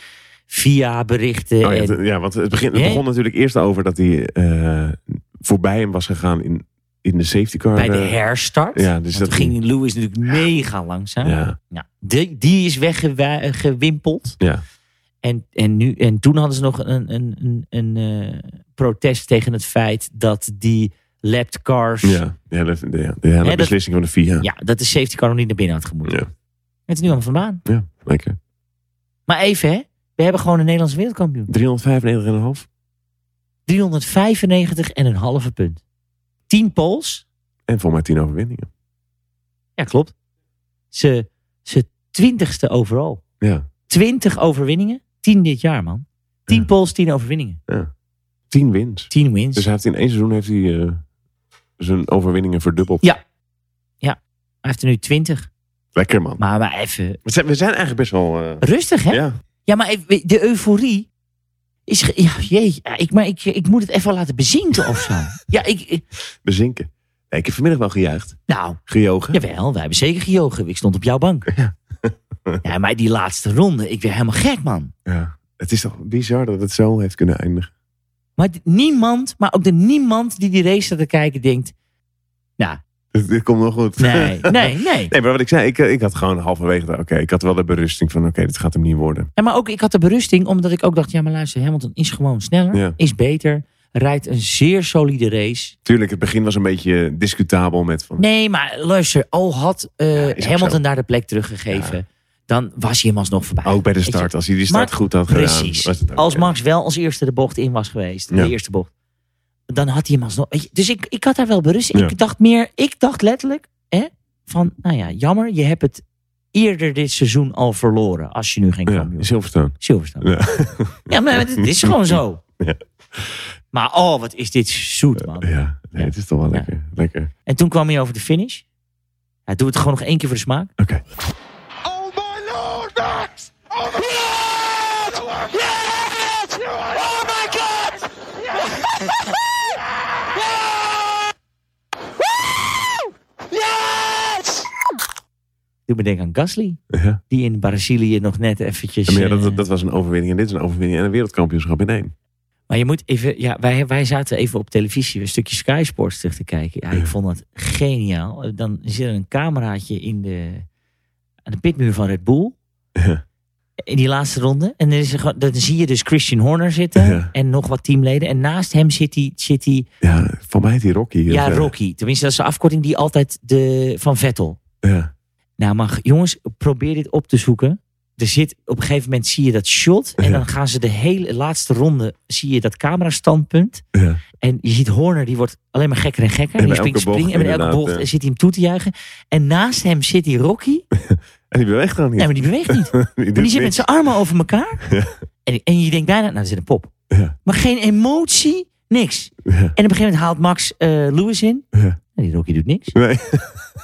[SPEAKER 3] via berichten.
[SPEAKER 2] Oh ja,
[SPEAKER 3] en-
[SPEAKER 2] het- ja, want het, begin, het
[SPEAKER 3] Nee.
[SPEAKER 2] begon natuurlijk eerst over dat hij eh, voorbij hem was gegaan in, in de safety car.
[SPEAKER 3] bij de
[SPEAKER 2] eh,
[SPEAKER 3] herstart.
[SPEAKER 2] Ja, dus
[SPEAKER 3] Want
[SPEAKER 2] dat
[SPEAKER 3] toen ging Lewis natuurlijk mega langzaam.
[SPEAKER 2] Ja,
[SPEAKER 3] Ja, de, die is weggewimpeld.
[SPEAKER 2] Ja.
[SPEAKER 3] En, en, nu, en toen hadden ze nog een, een, een, een eh, protest tegen het feit dat die lapped cars...
[SPEAKER 2] ja, de hele, de, de hele
[SPEAKER 3] dat-
[SPEAKER 2] beslissing van de FIA.
[SPEAKER 3] ja, dat de safety car nog niet naar binnen had gemoeten.
[SPEAKER 2] Ja.
[SPEAKER 3] Het is nu allemaal vandaan.
[SPEAKER 2] Ja, lekker.
[SPEAKER 3] Maar even hè, we hebben gewoon een Nederlandse wereldkampioen.
[SPEAKER 2] 395,5.
[SPEAKER 3] 395 en een halve punt. 10 pols.
[SPEAKER 2] En voor mij 10 overwinningen.
[SPEAKER 3] Ja, klopt. Ze, ze twintigste overal.
[SPEAKER 2] Ja.
[SPEAKER 3] 20 overwinningen. 10 dit jaar man. 10
[SPEAKER 2] Ja.
[SPEAKER 3] pols, 10 overwinningen.
[SPEAKER 2] Tien wins.
[SPEAKER 3] 10 wins.
[SPEAKER 2] Dus hij heeft in één seizoen heeft hij, eh, zijn overwinningen verdubbeld.
[SPEAKER 3] Ja. hij heeft er nu 20.
[SPEAKER 2] Lekker man.
[SPEAKER 3] Maar, maar even
[SPEAKER 2] We zijn, we zijn eigenlijk best wel... eh,
[SPEAKER 3] rustig, hè? Ja,
[SPEAKER 2] ja.
[SPEAKER 3] maar even- de euforie is... ge- Ja, jee, ja, ik, maar ik, ik moet het even laten bezinken of zo. Ja, ik, ik-
[SPEAKER 2] bezinken. Nee, ik heb vanmiddag wel gejuicht.
[SPEAKER 3] nou,
[SPEAKER 2] Gejogen.
[SPEAKER 3] jawel, wij hebben zeker gejogen. Ik stond op jouw bank. Ja, maar die laatste ronde, ik werd helemaal gek, man.
[SPEAKER 2] Ja. Het is toch bizar dat het zo heeft kunnen eindigen.
[SPEAKER 3] Maar d- niemand, maar ook de niemand die die race staat te kijken denkt... Nou,
[SPEAKER 2] Dit, dit komt nog goed.
[SPEAKER 3] nee, nee, nee.
[SPEAKER 2] Nee, maar wat ik zei, ik, eh, ik had gewoon halverwege... Oké, ik had wel de berusting van... Oké, dit gaat hem niet worden.
[SPEAKER 3] Ja, maar ook, ik had de berusting, omdat ik ook dacht... Ja, maar luister, Hamilton is gewoon sneller,
[SPEAKER 2] Ja.
[SPEAKER 3] is beter... rijdt een zeer solide race.
[SPEAKER 2] Tuurlijk, het begin was een beetje eh, discutabel met van...
[SPEAKER 3] Nee, maar luister, al had eh,
[SPEAKER 2] is ook zo.
[SPEAKER 3] Hamilton daar de plek teruggegeven... dan was hij hem alsnog voorbij.
[SPEAKER 2] Ook oh, bij de
[SPEAKER 3] Weet je,
[SPEAKER 2] start, als hij die start
[SPEAKER 3] Maar-
[SPEAKER 2] goed had gedaan.
[SPEAKER 3] Precies.
[SPEAKER 2] was het ook,
[SPEAKER 3] als
[SPEAKER 2] eh,
[SPEAKER 3] Max wel als eerste de bocht in was geweest,
[SPEAKER 2] Ja.
[SPEAKER 3] de eerste bocht, dan had hij hem alsnog. weet je, Dus ik, ik had daar wel berust.
[SPEAKER 2] Ja.
[SPEAKER 3] Ik dacht meer, ik dacht letterlijk, hè, van, nou ja, jammer, je hebt het eerder dit seizoen al verloren als je nu geen
[SPEAKER 2] Ja,
[SPEAKER 3] kampioen
[SPEAKER 2] Silverstone.
[SPEAKER 3] Silverstone.
[SPEAKER 2] Ja.
[SPEAKER 3] Ja, maar dit is gewoon zo.
[SPEAKER 2] Ja.
[SPEAKER 3] Maar oh, wat is dit zoet, man.
[SPEAKER 2] Ja, nee, het is toch wel
[SPEAKER 3] Ja.
[SPEAKER 2] lekker. Lekker.
[SPEAKER 3] En toen kwam hij over de finish. Ja, doe het gewoon nog één keer voor de smaak.
[SPEAKER 2] Oké.
[SPEAKER 1] Oh my lord, Max! Oh my yes! god! Yes! Oh my god! Yes!
[SPEAKER 3] Doe me denken aan Gasly.
[SPEAKER 2] Ja.
[SPEAKER 3] Die in Brazilië nog net eventjes...
[SPEAKER 2] Maar ja,
[SPEAKER 3] eh,
[SPEAKER 2] dat, dat was een overwinning en dit is een overwinning en een wereldkampioenschap in één.
[SPEAKER 3] Maar je moet even, ja, wij, wij zaten even op televisie een stukje Sky Sports terug te kijken. Ja,
[SPEAKER 2] Ja.
[SPEAKER 3] ik vond dat geniaal. Dan zit er een cameraatje in de, aan de pitmuur van Red Bull.
[SPEAKER 2] Ja.
[SPEAKER 3] In die laatste ronde. En dan, is er, gewoon- dan zie je dus Christian Horner zitten.
[SPEAKER 2] Ja.
[SPEAKER 3] En nog wat teamleden. En naast hem zit die, zit die
[SPEAKER 2] Ja, voor mij heet hij Rocky. of,
[SPEAKER 3] ja,
[SPEAKER 2] eh,
[SPEAKER 3] Rocky. Tenminste, dat is de afkorting die altijd de, van Vettel.
[SPEAKER 2] Ja.
[SPEAKER 3] Nou, maar jongens, probeer dit op te zoeken. Er zit, op een gegeven moment zie je dat shot. En
[SPEAKER 2] Ja.
[SPEAKER 3] dan gaan ze de hele laatste ronde, zie je dat camerastandpunt.
[SPEAKER 2] ja.
[SPEAKER 3] En je ziet Horner, die wordt alleen maar gekker en gekker.
[SPEAKER 2] En
[SPEAKER 3] En die
[SPEAKER 2] bij elke
[SPEAKER 3] springt, springt.
[SPEAKER 2] bocht,
[SPEAKER 3] En bij elke
[SPEAKER 2] inderdaad,
[SPEAKER 3] bocht
[SPEAKER 2] ja.
[SPEAKER 3] zit hij hem toe te juichen. En naast hem zit die Rocky.
[SPEAKER 2] En die beweegt dan niet.
[SPEAKER 3] Nee, maar die beweegt niet. Maar
[SPEAKER 2] die doet
[SPEAKER 3] die zit met
[SPEAKER 2] niks.
[SPEAKER 3] zijn armen over elkaar. En, en je denkt bijna, nou, er zit een pop.
[SPEAKER 2] Ja.
[SPEAKER 3] Maar geen emotie, niks.
[SPEAKER 2] Ja.
[SPEAKER 3] En op een gegeven moment haalt Max eh, Lewis in.
[SPEAKER 2] Ja.
[SPEAKER 3] En die Rocky doet niks.
[SPEAKER 2] Nee.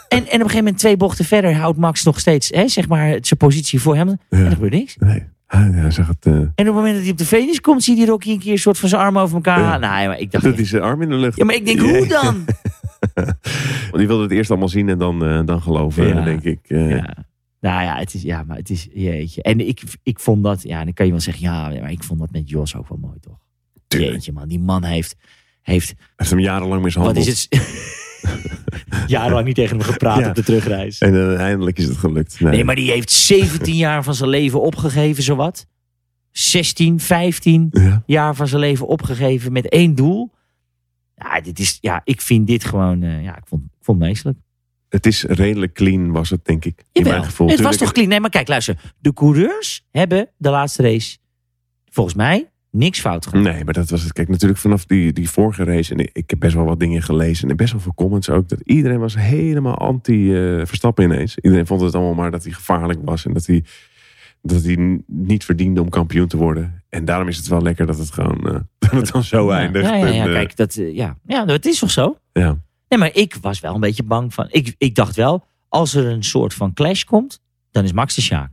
[SPEAKER 3] En, en op een gegeven moment twee bochten verder houdt Max nog steeds hè, zeg maar, zijn positie voor hem. En er
[SPEAKER 2] Ja.
[SPEAKER 3] gebeurt niks.
[SPEAKER 2] Nee. Hij, hij zag het. eh,
[SPEAKER 3] En op het moment dat hij op de finish komt, zie je die Rocky een keer een soort van zijn armen over elkaar.
[SPEAKER 2] Ja.
[SPEAKER 3] halen. Nou, ja, maar ik dacht,
[SPEAKER 2] dat hij zijn arm in de lucht.
[SPEAKER 3] ja, maar ik denk, hoe dan?
[SPEAKER 2] Want die wilde het eerst allemaal zien en dan, eh, dan geloven,
[SPEAKER 3] Ja.
[SPEAKER 2] denk ik. eh.
[SPEAKER 3] Ja. Nou ja, het is, ja, maar het is, jeetje. En ik, ik vond dat, ja, dan kan je wel zeggen, ja, maar ik vond dat met Jos ook wel mooi, toch?
[SPEAKER 2] Tuurlijk.
[SPEAKER 3] Jeetje, man, die man heeft, heeft
[SPEAKER 2] Hij heeft hem jarenlang
[SPEAKER 3] wat
[SPEAKER 2] mishandeld.
[SPEAKER 3] is het? Jarenlang niet tegen hem gepraat
[SPEAKER 2] Ja.
[SPEAKER 3] op de terugreis.
[SPEAKER 2] En eh, eindelijk is het gelukt. Nee,
[SPEAKER 3] Nee, maar die heeft 17 jaar van zijn leven opgegeven, zowat. 16, 15
[SPEAKER 2] Ja.
[SPEAKER 3] jaar van zijn leven opgegeven met één doel. Ja, dit is, ja ik vind dit gewoon, eh, ja, ik vond, ik vond het meestelijk.
[SPEAKER 2] Het is redelijk clean, was het, denk ik. In
[SPEAKER 3] Jawel.
[SPEAKER 2] mijn gevoel.
[SPEAKER 3] Het was
[SPEAKER 2] Tuurlijk,
[SPEAKER 3] toch clean? Nee, maar kijk, luister. De coureurs hebben de laatste race, volgens mij, niks fout gedaan.
[SPEAKER 2] Nee, maar dat was het. Kijk, natuurlijk vanaf die, die vorige race. En ik, ik heb best wel wat dingen gelezen. En best wel veel comments ook. Dat iedereen was helemaal anti-Verstappen ineens. Iedereen vond het allemaal maar dat hij gevaarlijk was. En dat hij, dat hij n- niet verdiende om kampioen te worden. En daarom is het wel lekker dat het gewoon eh, dat het dan zo
[SPEAKER 3] Ja,
[SPEAKER 2] eindigt.
[SPEAKER 3] ja, ja,
[SPEAKER 2] En,
[SPEAKER 3] ja,
[SPEAKER 2] eh,
[SPEAKER 3] kijk, dat, eh, ja. ja, dat is toch zo?
[SPEAKER 2] ja.
[SPEAKER 3] Nee, maar ik was wel een beetje bang van... Ik, ik dacht wel, als er een soort van clash komt, dan is Max de Sjaak.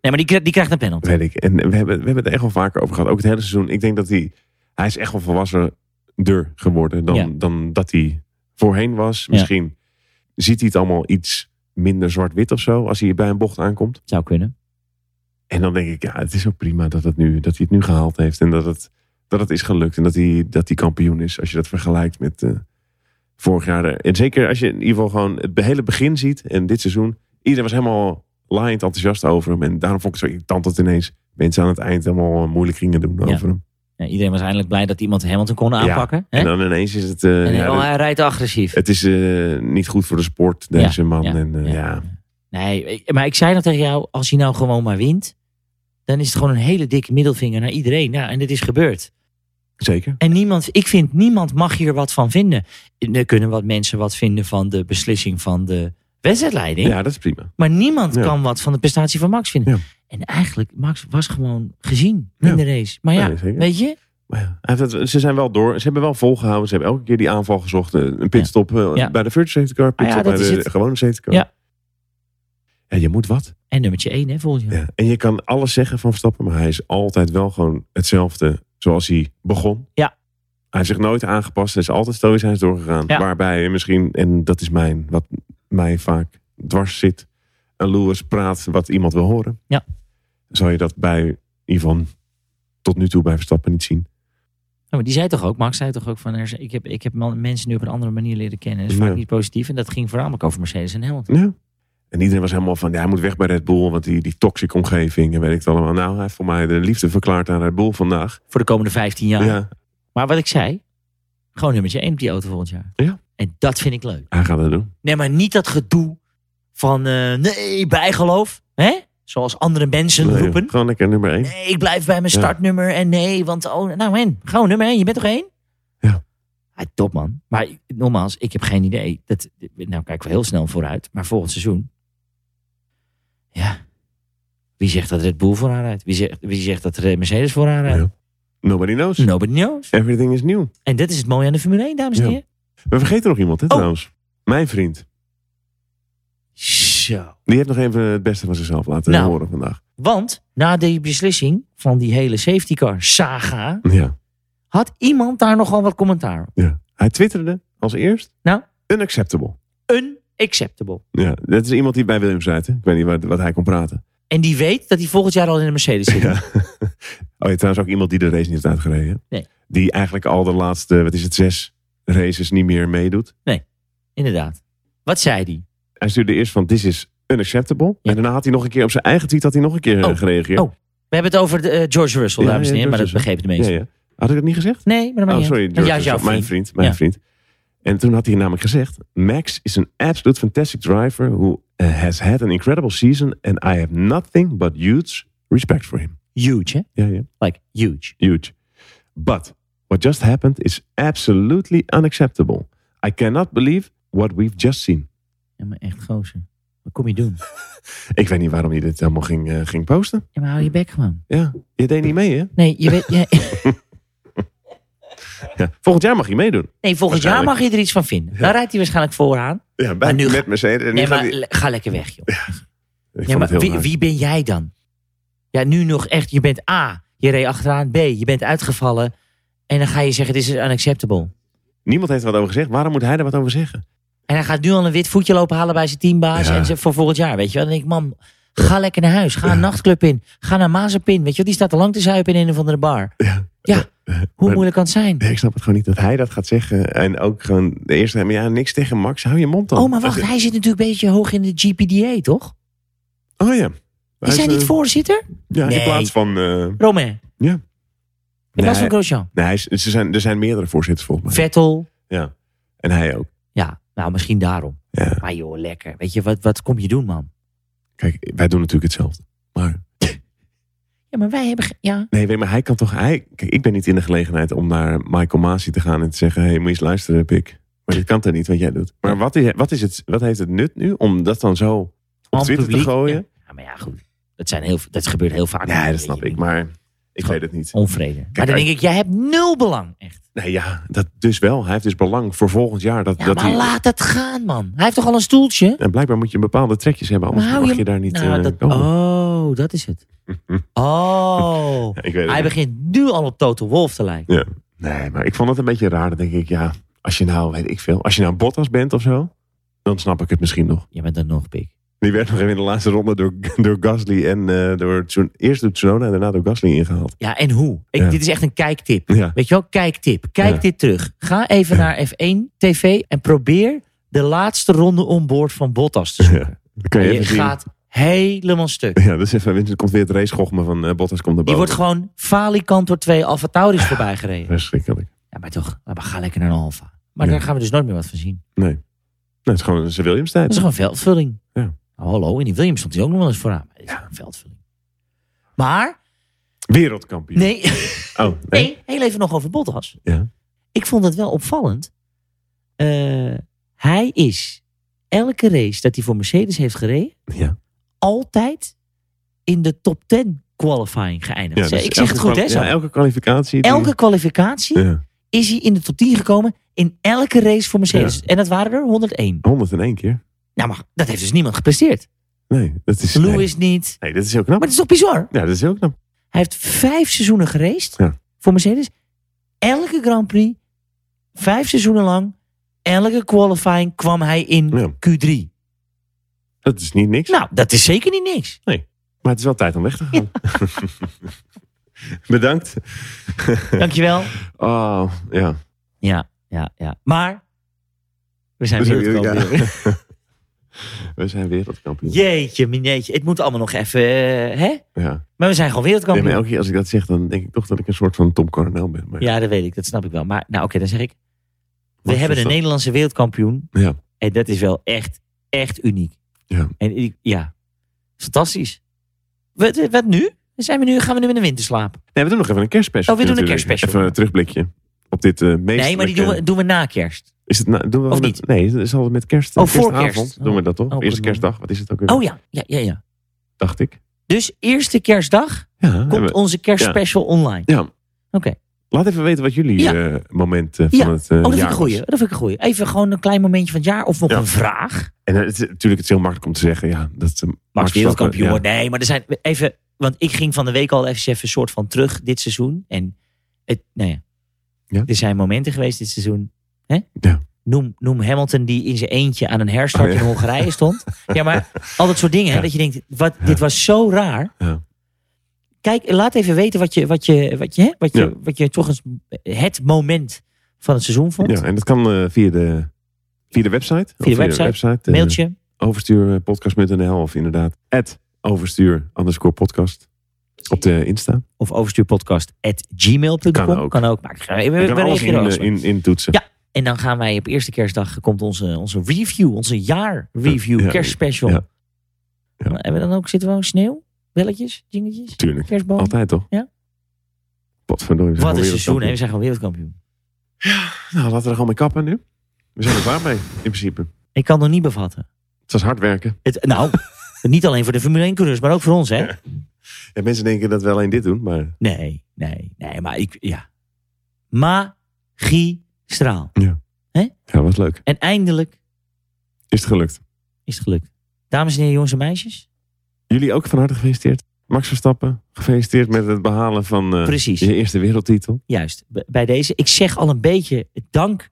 [SPEAKER 3] Nee, maar die, kri- die krijgt een penalty.
[SPEAKER 2] Weet ik. En we hebben, we hebben het er echt wel vaker over gehad. Ook het hele seizoen. Ik denk dat hij... Hij is echt wel volwassener geworden dan,
[SPEAKER 3] Ja.
[SPEAKER 2] dan dat hij voorheen was.
[SPEAKER 3] Ja.
[SPEAKER 2] Misschien ziet hij het allemaal iets minder zwart-wit of zo. Als hij bij een bocht aankomt.
[SPEAKER 3] Zou kunnen.
[SPEAKER 2] En dan denk ik, ja, het is ook prima dat, het nu, dat hij het nu gehaald heeft. En dat het, dat het is gelukt. En dat hij, dat hij kampioen is. Als je dat vergelijkt met eh, vorig jaar. En zeker als je in ieder geval gewoon het hele begin ziet. En dit seizoen. Iedereen was helemaal laaiend enthousiast over hem. En daarom vond ik het zo irritant dat ineens mensen aan het eind helemaal eh, moeilijk gingen doen
[SPEAKER 3] Ja.
[SPEAKER 2] over hem.
[SPEAKER 3] Ja, iedereen was eindelijk blij dat iemand Hamilton kon aanpakken. hè?
[SPEAKER 2] En dan ineens is het... eh,
[SPEAKER 3] En,
[SPEAKER 2] ja,
[SPEAKER 3] oh,
[SPEAKER 2] dat-
[SPEAKER 3] hij rijdt agressief.
[SPEAKER 2] het is eh, niet goed voor de sport, deze man.
[SPEAKER 3] ja,
[SPEAKER 2] en, eh, ja.
[SPEAKER 3] ja. Nee, ik- maar ik zei dat tegen jou, als hij nou gewoon maar wint, dan is het gewoon een hele dikke middelvinger naar iedereen. Nou, en dit is gebeurd.
[SPEAKER 2] zeker.
[SPEAKER 3] En niemand, ik vind, niemand mag hier wat van vinden. Er kunnen wat mensen wat vinden van de beslissing van de wedstrijdleiding.
[SPEAKER 2] Ja, dat is prima.
[SPEAKER 3] Maar niemand
[SPEAKER 2] Ja.
[SPEAKER 3] kan wat van de prestatie van Max vinden.
[SPEAKER 2] Ja.
[SPEAKER 3] En eigenlijk, Max was gewoon gezien
[SPEAKER 2] Ja.
[SPEAKER 3] in de race. Maar ja,
[SPEAKER 2] Nee, zeker.
[SPEAKER 3] weet je,
[SPEAKER 2] Maar ja, hij heeft het- ze zijn wel door. Ze hebben wel volgehouden. Ze hebben elke keer die aanval gezocht. Eh, Een pitstop eh,
[SPEAKER 3] Ja.
[SPEAKER 2] bij de virtual safety car. Pitstop
[SPEAKER 3] Ah ja, dat
[SPEAKER 2] bij
[SPEAKER 3] is
[SPEAKER 2] de
[SPEAKER 3] het.
[SPEAKER 2] gewone safety car.
[SPEAKER 3] Ja.
[SPEAKER 2] Ja, je moet wat.
[SPEAKER 3] En nummertje 1, hè, volgens jou.
[SPEAKER 2] Ja. En je kan alles zeggen van Verstappen. Maar hij is altijd wel gewoon hetzelfde zoals hij begon.
[SPEAKER 3] Ja.
[SPEAKER 2] Hij heeft zich nooit aangepast. Hij is altijd stoïcijns doorgegaan.
[SPEAKER 3] Ja.
[SPEAKER 2] Waarbij je misschien, en dat is mijn, wat mij vaak dwars zit. Een Lewis praat wat iemand wil horen.
[SPEAKER 3] Ja.
[SPEAKER 2] Zou je dat bij Ivan tot nu toe bij Verstappen niet zien?
[SPEAKER 3] Nou, maar die zei toch ook, Max zei toch ook van, er is- ik heb, ik heb man- mensen nu op een andere manier leren kennen. Dat is vaak
[SPEAKER 2] Ja.
[SPEAKER 3] niet positief. En dat ging voornamelijk over Mercedes en Hamilton.
[SPEAKER 2] Ja. En iedereen was helemaal van, ja, hij moet weg bij Red Bull, want die, die toxic omgeving en weet ik het allemaal. Nou, hij heeft voor mij de liefde verklaard aan Red Bull vandaag.
[SPEAKER 3] Voor de komende 15 jaar.
[SPEAKER 2] Ja.
[SPEAKER 3] Maar wat ik zei, gewoon nummertje 1 op die auto volgend jaar.
[SPEAKER 2] Ja.
[SPEAKER 3] En dat vind ik leuk.
[SPEAKER 2] hij gaat dat doen.
[SPEAKER 3] Nee, maar niet dat gedoe van eh, nee, bijgeloof. Hè? Zoals andere mensen
[SPEAKER 2] Nee,
[SPEAKER 3] roepen.
[SPEAKER 2] Gewoon lekker nummer één.
[SPEAKER 3] Nee, ik blijf bij mijn
[SPEAKER 2] Ja.
[SPEAKER 3] startnummer. En nee, want oh, nou en, gewoon nummer 1. Je bent toch één?
[SPEAKER 2] Ja.
[SPEAKER 3] Ah, top man. Maar nogmaals, ik heb geen idee. Dat, nou kijken we heel snel vooruit. Maar volgend seizoen. Ja. Wie zegt dat Red Bull voor haar rijdt? Wie zegt, wie zegt dat Red Mercedes voor haar rijdt?
[SPEAKER 2] Nobody knows.
[SPEAKER 3] Nobody knows.
[SPEAKER 2] Everything is nieuw.
[SPEAKER 3] En dat is het mooie aan de Formule 1, dames en
[SPEAKER 2] Ja.
[SPEAKER 3] heren.
[SPEAKER 2] We vergeten nog iemand, hè,
[SPEAKER 3] Oh.
[SPEAKER 2] trouwens. Mijn vriend.
[SPEAKER 3] Zo.
[SPEAKER 2] Die heeft nog even het beste van zichzelf laten
[SPEAKER 3] Nou.
[SPEAKER 2] horen vandaag.
[SPEAKER 3] Want na die beslissing van die hele safety car saga,
[SPEAKER 2] Ja.
[SPEAKER 3] had iemand daar nogal wat commentaar op.
[SPEAKER 2] ja. Hij twitterde als eerst.
[SPEAKER 3] Nou?
[SPEAKER 2] Unacceptable.
[SPEAKER 3] Unacceptable.
[SPEAKER 2] Ja, dat is iemand die bij Williams rijdt, hè? Ik weet niet wat, wat hij kon praten.
[SPEAKER 3] En die weet dat hij volgend jaar al in een Mercedes zit.
[SPEAKER 2] Ja. Oh ja, trouwens ook iemand die de race niet heeft uitgereden. hè?
[SPEAKER 3] Nee.
[SPEAKER 2] Die eigenlijk al de laatste, wat is het, zes races niet meer meedoet.
[SPEAKER 3] Inderdaad. Wat zei die?
[SPEAKER 2] Hij stuurde eerst van, this is unacceptable.
[SPEAKER 3] Ja.
[SPEAKER 2] En daarna had hij nog een keer op zijn eigen tweet had hij nog een keer eh,
[SPEAKER 3] Oh.
[SPEAKER 2] gereageerd.
[SPEAKER 3] Oh, We hebben het over de, eh, George Russell,
[SPEAKER 2] Ja,
[SPEAKER 3] dames en
[SPEAKER 2] ja,
[SPEAKER 3] heren, maar dat
[SPEAKER 2] George
[SPEAKER 3] begrepen de
[SPEAKER 2] ja,
[SPEAKER 3] meesten.
[SPEAKER 2] ja. Had ik dat niet gezegd?
[SPEAKER 3] Nee, maar dat maakt
[SPEAKER 2] Oh,
[SPEAKER 3] niet
[SPEAKER 2] sorry,
[SPEAKER 3] uit. Want
[SPEAKER 2] George,
[SPEAKER 3] jij is jouw
[SPEAKER 2] mijn
[SPEAKER 3] vriend.
[SPEAKER 2] vriend. Mijn
[SPEAKER 3] Ja.
[SPEAKER 2] vriend. En toen had hij namelijk gezegd, Max is an absolute fantastic driver who eh, has had an incredible season and I have nothing but huge respect for him.
[SPEAKER 3] Huge, hè?
[SPEAKER 2] Ja, ja.
[SPEAKER 3] Like, huge.
[SPEAKER 2] Huge. But what just happened is absolutely unacceptable. I cannot believe what we've just seen.
[SPEAKER 3] Ja, maar echt gozer. Wat kom je doen?
[SPEAKER 2] Ik weet niet waarom hij dit helemaal ging, eh, ging posten.
[SPEAKER 3] Ja, maar hou je bek gewoon.
[SPEAKER 2] Ja, je deed niet mee, hè?
[SPEAKER 3] Nee, je weet, ja,
[SPEAKER 2] Ja. Volgend jaar mag je meedoen.
[SPEAKER 3] nee volgend jaar mag je er iets van vinden. Dan rijdt hij waarschijnlijk vooraan.
[SPEAKER 2] Ja, bij,
[SPEAKER 3] Maar nu
[SPEAKER 2] met Mercedes. En nu
[SPEAKER 3] Nee,
[SPEAKER 2] gaat
[SPEAKER 3] maar
[SPEAKER 2] hij-
[SPEAKER 3] le- ga lekker weg, joh.
[SPEAKER 2] Ik
[SPEAKER 3] Ja,
[SPEAKER 2] vond het
[SPEAKER 3] maar
[SPEAKER 2] heel
[SPEAKER 3] wie,
[SPEAKER 2] raar.
[SPEAKER 3] wie ben jij dan? Ja, nu nog echt. Je bent A, je reed achteraan. B, je bent uitgevallen. En dan ga je zeggen, dit is unacceptable.
[SPEAKER 2] Niemand heeft er wat over gezegd. Waarom moet hij er wat over zeggen?
[SPEAKER 3] En hij gaat nu al een wit voetje lopen halen bij zijn teambaas.
[SPEAKER 2] Ja.
[SPEAKER 3] En ze, voor volgend jaar, weet je wel. Dan denk ik, man, ga lekker naar huis. Ga een nachtclub in. Ga naar Mazepin. Weet je wel, die staat al lang te zuipen in een of andere bar.
[SPEAKER 2] Ja.
[SPEAKER 3] Ja, hoe
[SPEAKER 2] Maar-
[SPEAKER 3] moeilijk kan het zijn?
[SPEAKER 2] Nee, ik snap het gewoon niet dat hij dat gaat zeggen. En ook gewoon de eerste... Maar ja, niks tegen Max. Hou je mond dan.
[SPEAKER 3] Oh, maar wacht, hij zit natuurlijk een beetje hoog in de GPDA, toch?
[SPEAKER 2] Oh ja. Hij
[SPEAKER 3] Is hij
[SPEAKER 2] eh,
[SPEAKER 3] niet voorzitter?
[SPEAKER 2] Ja,
[SPEAKER 3] Nee.
[SPEAKER 2] in plaats van... eh,
[SPEAKER 3] Romain, in plaats
[SPEAKER 2] nee,
[SPEAKER 3] van Grosjean.
[SPEAKER 2] nee, hij is- ze zijn, er zijn meerdere voorzitters volgens mij.
[SPEAKER 3] Vettel,
[SPEAKER 2] Ja. En hij ook.
[SPEAKER 3] ja, nou misschien daarom.
[SPEAKER 2] Ja.
[SPEAKER 3] Maar joh, lekker. Weet je, wat, wat kom je doen, man?
[SPEAKER 2] Kijk, wij doen natuurlijk hetzelfde. Maar
[SPEAKER 3] Ja, maar wij hebben... ge- Ja,
[SPEAKER 2] nee, weet je, maar hij kan toch. Hij, kijk, ik ben niet in de gelegenheid om naar Michael Masi te gaan en te zeggen: hé, hey, moet je eens luisteren, pik. Maar dit kan toch niet wat jij doet. Maar wat, is, wat, is het, wat heeft het nut nu om dat dan zo op
[SPEAKER 3] Aan
[SPEAKER 2] Twitter te
[SPEAKER 3] publiek,
[SPEAKER 2] gooien?
[SPEAKER 3] Ja. Ja, maar ja, goed. Dat, zijn heel, dat gebeurt heel vaak.
[SPEAKER 2] Ja, dat
[SPEAKER 3] Weet
[SPEAKER 2] snap
[SPEAKER 3] je,
[SPEAKER 2] ik. Maar ik weet het niet.
[SPEAKER 3] Onvrede. maar dan
[SPEAKER 2] uit-
[SPEAKER 3] denk ik, jij hebt nul belang. Echt.
[SPEAKER 2] Nee, ja, dat dus wel. Hij heeft dus belang voor volgend jaar. Dat,
[SPEAKER 3] Ja,
[SPEAKER 2] dat
[SPEAKER 3] maar
[SPEAKER 2] hij,
[SPEAKER 3] laat het gaan, man. Hij heeft toch al een stoeltje?
[SPEAKER 2] en blijkbaar moet je een bepaalde trekjes hebben, anders
[SPEAKER 3] Maar hou
[SPEAKER 2] mag je,
[SPEAKER 3] je-
[SPEAKER 2] daar niet.
[SPEAKER 3] Nou,
[SPEAKER 2] eh,
[SPEAKER 3] dat,
[SPEAKER 2] komen.
[SPEAKER 3] oh, dat is het. Oh.
[SPEAKER 2] Ja, ik weet het
[SPEAKER 3] Hij
[SPEAKER 2] niet.
[SPEAKER 3] begint nu al op Total Wolf te lijken.
[SPEAKER 2] Ja. Nee, maar ik vond het een beetje raar. Dan denk ik, ja, als je nou, weet ik veel, als je nou Bottas bent of zo, dan snap ik het misschien nog.
[SPEAKER 3] Je bent dan nog pik.
[SPEAKER 2] Die werd nog even in de laatste ronde door, door Gasly en eh, door Tsun- eerst door Tsunoda en daarna door Gasly ingehaald.
[SPEAKER 3] Ja, en hoe? Ik,
[SPEAKER 2] Ja.
[SPEAKER 3] Dit is echt een kijktip.
[SPEAKER 2] Ja.
[SPEAKER 3] Weet je wel, kijktip. Kijk
[SPEAKER 2] Ja.
[SPEAKER 3] dit terug. Ga even naar F1 TV en probeer de laatste ronde onboord van Bottas te zoeken.
[SPEAKER 2] Dat kan je
[SPEAKER 3] je
[SPEAKER 2] even zien.
[SPEAKER 3] gaat helemaal stuk.
[SPEAKER 2] Ja, dus even, Vincent komt weer het racegochme van eh, Bottas komt
[SPEAKER 3] Die
[SPEAKER 2] erboven.
[SPEAKER 3] wordt gewoon falikant door twee Alfa Tauris voorbij gereden.
[SPEAKER 2] Verschrikkelijk. Nou,
[SPEAKER 3] Ja, maar toch, maar ga lekker naar een Alfa. Maar
[SPEAKER 2] Ja.
[SPEAKER 3] daar gaan we dus nooit meer wat van zien.
[SPEAKER 2] Nee. nee. Het is gewoon een Williams
[SPEAKER 3] Dat
[SPEAKER 2] tijd.
[SPEAKER 3] is gewoon veldvulling.
[SPEAKER 2] Ja.
[SPEAKER 3] Nou, hallo, in die Williams stond hij ook nog wel eens vooraan. Maar dit is gewoon veldvulling. Maar,
[SPEAKER 2] Wereldkampioen.
[SPEAKER 3] nee,
[SPEAKER 2] Oh, nee.
[SPEAKER 3] nee, heel even nog over Bottas.
[SPEAKER 2] Ja.
[SPEAKER 3] Ik vond het wel opvallend. Eh, hij is elke race dat hij voor Mercedes heeft gereden,
[SPEAKER 2] Ja.
[SPEAKER 3] altijd in de top 10 qualifying geëindigd.
[SPEAKER 2] dus
[SPEAKER 3] ik zeg
[SPEAKER 2] elke
[SPEAKER 3] het goed, hè?
[SPEAKER 2] kwali-
[SPEAKER 3] zo.
[SPEAKER 2] ja, elke kwalificatie. die-
[SPEAKER 3] elke kwalificatie
[SPEAKER 2] Ja,
[SPEAKER 3] is hij in de top 10 gekomen in elke race voor Mercedes. En dat waren er 101.
[SPEAKER 2] 101 keer.
[SPEAKER 3] Nou, maar dat heeft dus niemand gepresteerd.
[SPEAKER 2] Nee, dat is. Nee,
[SPEAKER 3] Lewis niet.
[SPEAKER 2] Nee, dat is heel knap.
[SPEAKER 3] Maar het is toch bizar?
[SPEAKER 2] Ja, dat is heel knap.
[SPEAKER 3] Hij heeft vijf seizoenen geraced
[SPEAKER 2] Ja.
[SPEAKER 3] voor Mercedes. Elke Grand Prix, vijf seizoenen lang, elke qualifying kwam hij in
[SPEAKER 2] Ja.
[SPEAKER 3] Q3.
[SPEAKER 2] Dat is niet niks.
[SPEAKER 3] Nou, dat is zeker niet niks.
[SPEAKER 2] Maar het is wel tijd om weg te gaan. Bedankt.
[SPEAKER 3] Dankjewel.
[SPEAKER 2] Oh, ja.
[SPEAKER 3] Ja, ja, ja. Maar we zijn
[SPEAKER 2] We zijn
[SPEAKER 3] wereldkampioen.
[SPEAKER 2] We zijn wereldkampioen.
[SPEAKER 3] Jeetje, mineetje. Het moet allemaal nog even, eh, hè?
[SPEAKER 2] Ja.
[SPEAKER 3] Maar we zijn gewoon
[SPEAKER 2] Nee, maar
[SPEAKER 3] wereldkampioen.
[SPEAKER 2] elke keer als ik dat zeg, dan denk ik toch dat ik een soort van Tom Coronel ben. Maar
[SPEAKER 3] Ja, dat weet ik. Dat snap ik wel. Maar nou, oké, dan zeg ik. We
[SPEAKER 2] Wat
[SPEAKER 3] hebben
[SPEAKER 2] is
[SPEAKER 3] een
[SPEAKER 2] dat?
[SPEAKER 3] Nederlandse wereldkampioen.
[SPEAKER 2] Ja.
[SPEAKER 3] En dat is wel echt, echt uniek.
[SPEAKER 2] Ja.
[SPEAKER 3] En ik- ja, fantastisch. Wat, wat nu? Zijn we nu? Gaan we nu met de winter slapen?
[SPEAKER 2] Nee, we doen nog even een kerstspecial.
[SPEAKER 3] Oh, we doen een
[SPEAKER 2] natuurlijk.
[SPEAKER 3] kerstspecial.
[SPEAKER 2] Even een terugblikje op dit eh meest.
[SPEAKER 3] Nee, maar die doen we, doen we na kerst.
[SPEAKER 2] Is het na- doen we
[SPEAKER 3] Of
[SPEAKER 2] wel met-
[SPEAKER 3] niet?
[SPEAKER 2] Nee, is- is altijd met kerst.
[SPEAKER 3] Oh, voor
[SPEAKER 2] kerstavond
[SPEAKER 3] kerst.
[SPEAKER 2] doen we dat toch?
[SPEAKER 3] Oh,
[SPEAKER 2] Eerste
[SPEAKER 3] goed.
[SPEAKER 2] kerstdag, wat is het ook weer?
[SPEAKER 3] Oh ja, ja, ja, ja.
[SPEAKER 2] Dacht ik.
[SPEAKER 3] Dus eerste kerstdag
[SPEAKER 2] Ja, hebben
[SPEAKER 3] komt
[SPEAKER 2] we-
[SPEAKER 3] onze kerstspecial online.
[SPEAKER 2] Ja.
[SPEAKER 3] Oké.
[SPEAKER 2] Laat even weten wat jullie
[SPEAKER 3] Ja.
[SPEAKER 2] eh, moment eh,
[SPEAKER 3] Ja.
[SPEAKER 2] van het eh,
[SPEAKER 3] Oh, dat vind ik
[SPEAKER 2] jaar
[SPEAKER 3] een goeie.
[SPEAKER 2] was.
[SPEAKER 3] Dat vind ik een goeie. Even gewoon een klein momentje van het jaar of nog
[SPEAKER 2] Ja.
[SPEAKER 3] een vraag.
[SPEAKER 2] En eh, het is, natuurlijk het is heel makkelijk om te zeggen. Ja, dat is eh,
[SPEAKER 3] Max wereldkampioen. wordt. Nee, maar er zijn even... Want ik ging van de week al even een soort van terug dit seizoen. En het, nou ja,
[SPEAKER 2] Ja.
[SPEAKER 3] er zijn momenten geweest dit seizoen. Hè?
[SPEAKER 2] Ja.
[SPEAKER 3] Noem, noem Hamilton die in zijn eentje aan een herstart
[SPEAKER 2] Oh, ja.
[SPEAKER 3] in Hongarije stond. Ja, maar al dat soort dingen. Hè,
[SPEAKER 2] Ja.
[SPEAKER 3] dat je denkt, wat, dit was zo raar.
[SPEAKER 2] Ja.
[SPEAKER 3] Kijk, laat even weten wat je, wat je, wat je, hè, wat je,
[SPEAKER 2] Ja.
[SPEAKER 3] wat je toch eens het moment van het seizoen vond.
[SPEAKER 2] Ja, en dat kan eh, via, de, via de website. Of
[SPEAKER 3] de website.
[SPEAKER 2] eh,
[SPEAKER 3] Mailtje.
[SPEAKER 2] overstuurpodcast.nl of inderdaad at overstuur underscore podcast op de Insta.
[SPEAKER 3] Of overstuurpodcast.gmail.com.
[SPEAKER 2] Kan ook.
[SPEAKER 3] Kan ook. Maar we, we,
[SPEAKER 2] Je kan
[SPEAKER 3] we
[SPEAKER 2] alles
[SPEAKER 3] reageren
[SPEAKER 2] in, eh,
[SPEAKER 3] alles
[SPEAKER 2] in, in, toetsen.
[SPEAKER 3] Ja. En dan gaan wij op eerste kerstdag komt onze, onze review, onze jaarreview,
[SPEAKER 2] Ja, ja,
[SPEAKER 3] kerstspecial.
[SPEAKER 2] ja. Ja.
[SPEAKER 3] Hebben we dan ook, zitten we ook sneeuw? Belletjes, dingetjes,
[SPEAKER 2] Tuurlijk.
[SPEAKER 3] kerstboom?
[SPEAKER 2] Altijd toch?
[SPEAKER 3] Ja.
[SPEAKER 2] Potverdorie. we zijn
[SPEAKER 3] Wat een
[SPEAKER 2] gewoon
[SPEAKER 3] seizoen, hè? We
[SPEAKER 2] wereldkampioen.
[SPEAKER 3] zijn gewoon wereldkampioen.
[SPEAKER 2] Nou, laten we er gewoon mee kappen nu. We zijn er klaar mee, in principe.
[SPEAKER 3] Ik kan het nog niet bevatten.
[SPEAKER 2] Het was hard werken.
[SPEAKER 3] Het, nou, niet alleen voor de Formule 1-coureurs, maar ook voor ons, hè?
[SPEAKER 2] Ja, mensen denken dat we alleen dit doen, maar
[SPEAKER 3] Nee, nee, nee, maar ik, ja. Magistraal.
[SPEAKER 2] ja, was leuk.
[SPEAKER 3] En eindelijk
[SPEAKER 2] Is het gelukt.
[SPEAKER 3] is het gelukt. Dames en heren, jongens en meisjes.
[SPEAKER 2] Jullie ook van harte gefeliciteerd. Max Verstappen, gefeliciteerd met het behalen van eh,
[SPEAKER 3] Precies.
[SPEAKER 2] je eerste wereldtitel.
[SPEAKER 3] Juist, b- bij deze. Ik zeg al een beetje dank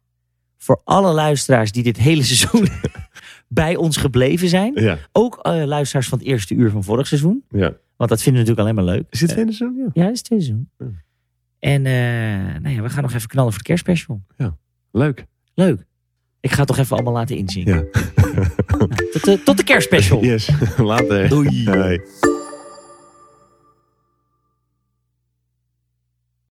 [SPEAKER 3] voor alle luisteraars die dit hele seizoen bij ons gebleven zijn.
[SPEAKER 2] Ja.
[SPEAKER 3] Ook eh, luisteraars van het eerste uur van vorig seizoen.
[SPEAKER 2] ja.
[SPEAKER 3] Want dat vinden we natuurlijk alleen maar leuk.
[SPEAKER 2] Is dit tweede seizoen? Ja.
[SPEAKER 3] Eh, ja, dat is het tweede seizoen.
[SPEAKER 2] Ja.
[SPEAKER 3] En eh, nou ja, we gaan nog even knallen voor de kerstspecial.
[SPEAKER 2] Leuk.
[SPEAKER 3] Leuk. Ik ga het toch even allemaal laten inzien.
[SPEAKER 2] Ja.
[SPEAKER 3] Tot, de- tot de kerstspecial.
[SPEAKER 2] Yes. Later.
[SPEAKER 3] Doei.
[SPEAKER 2] Hoi.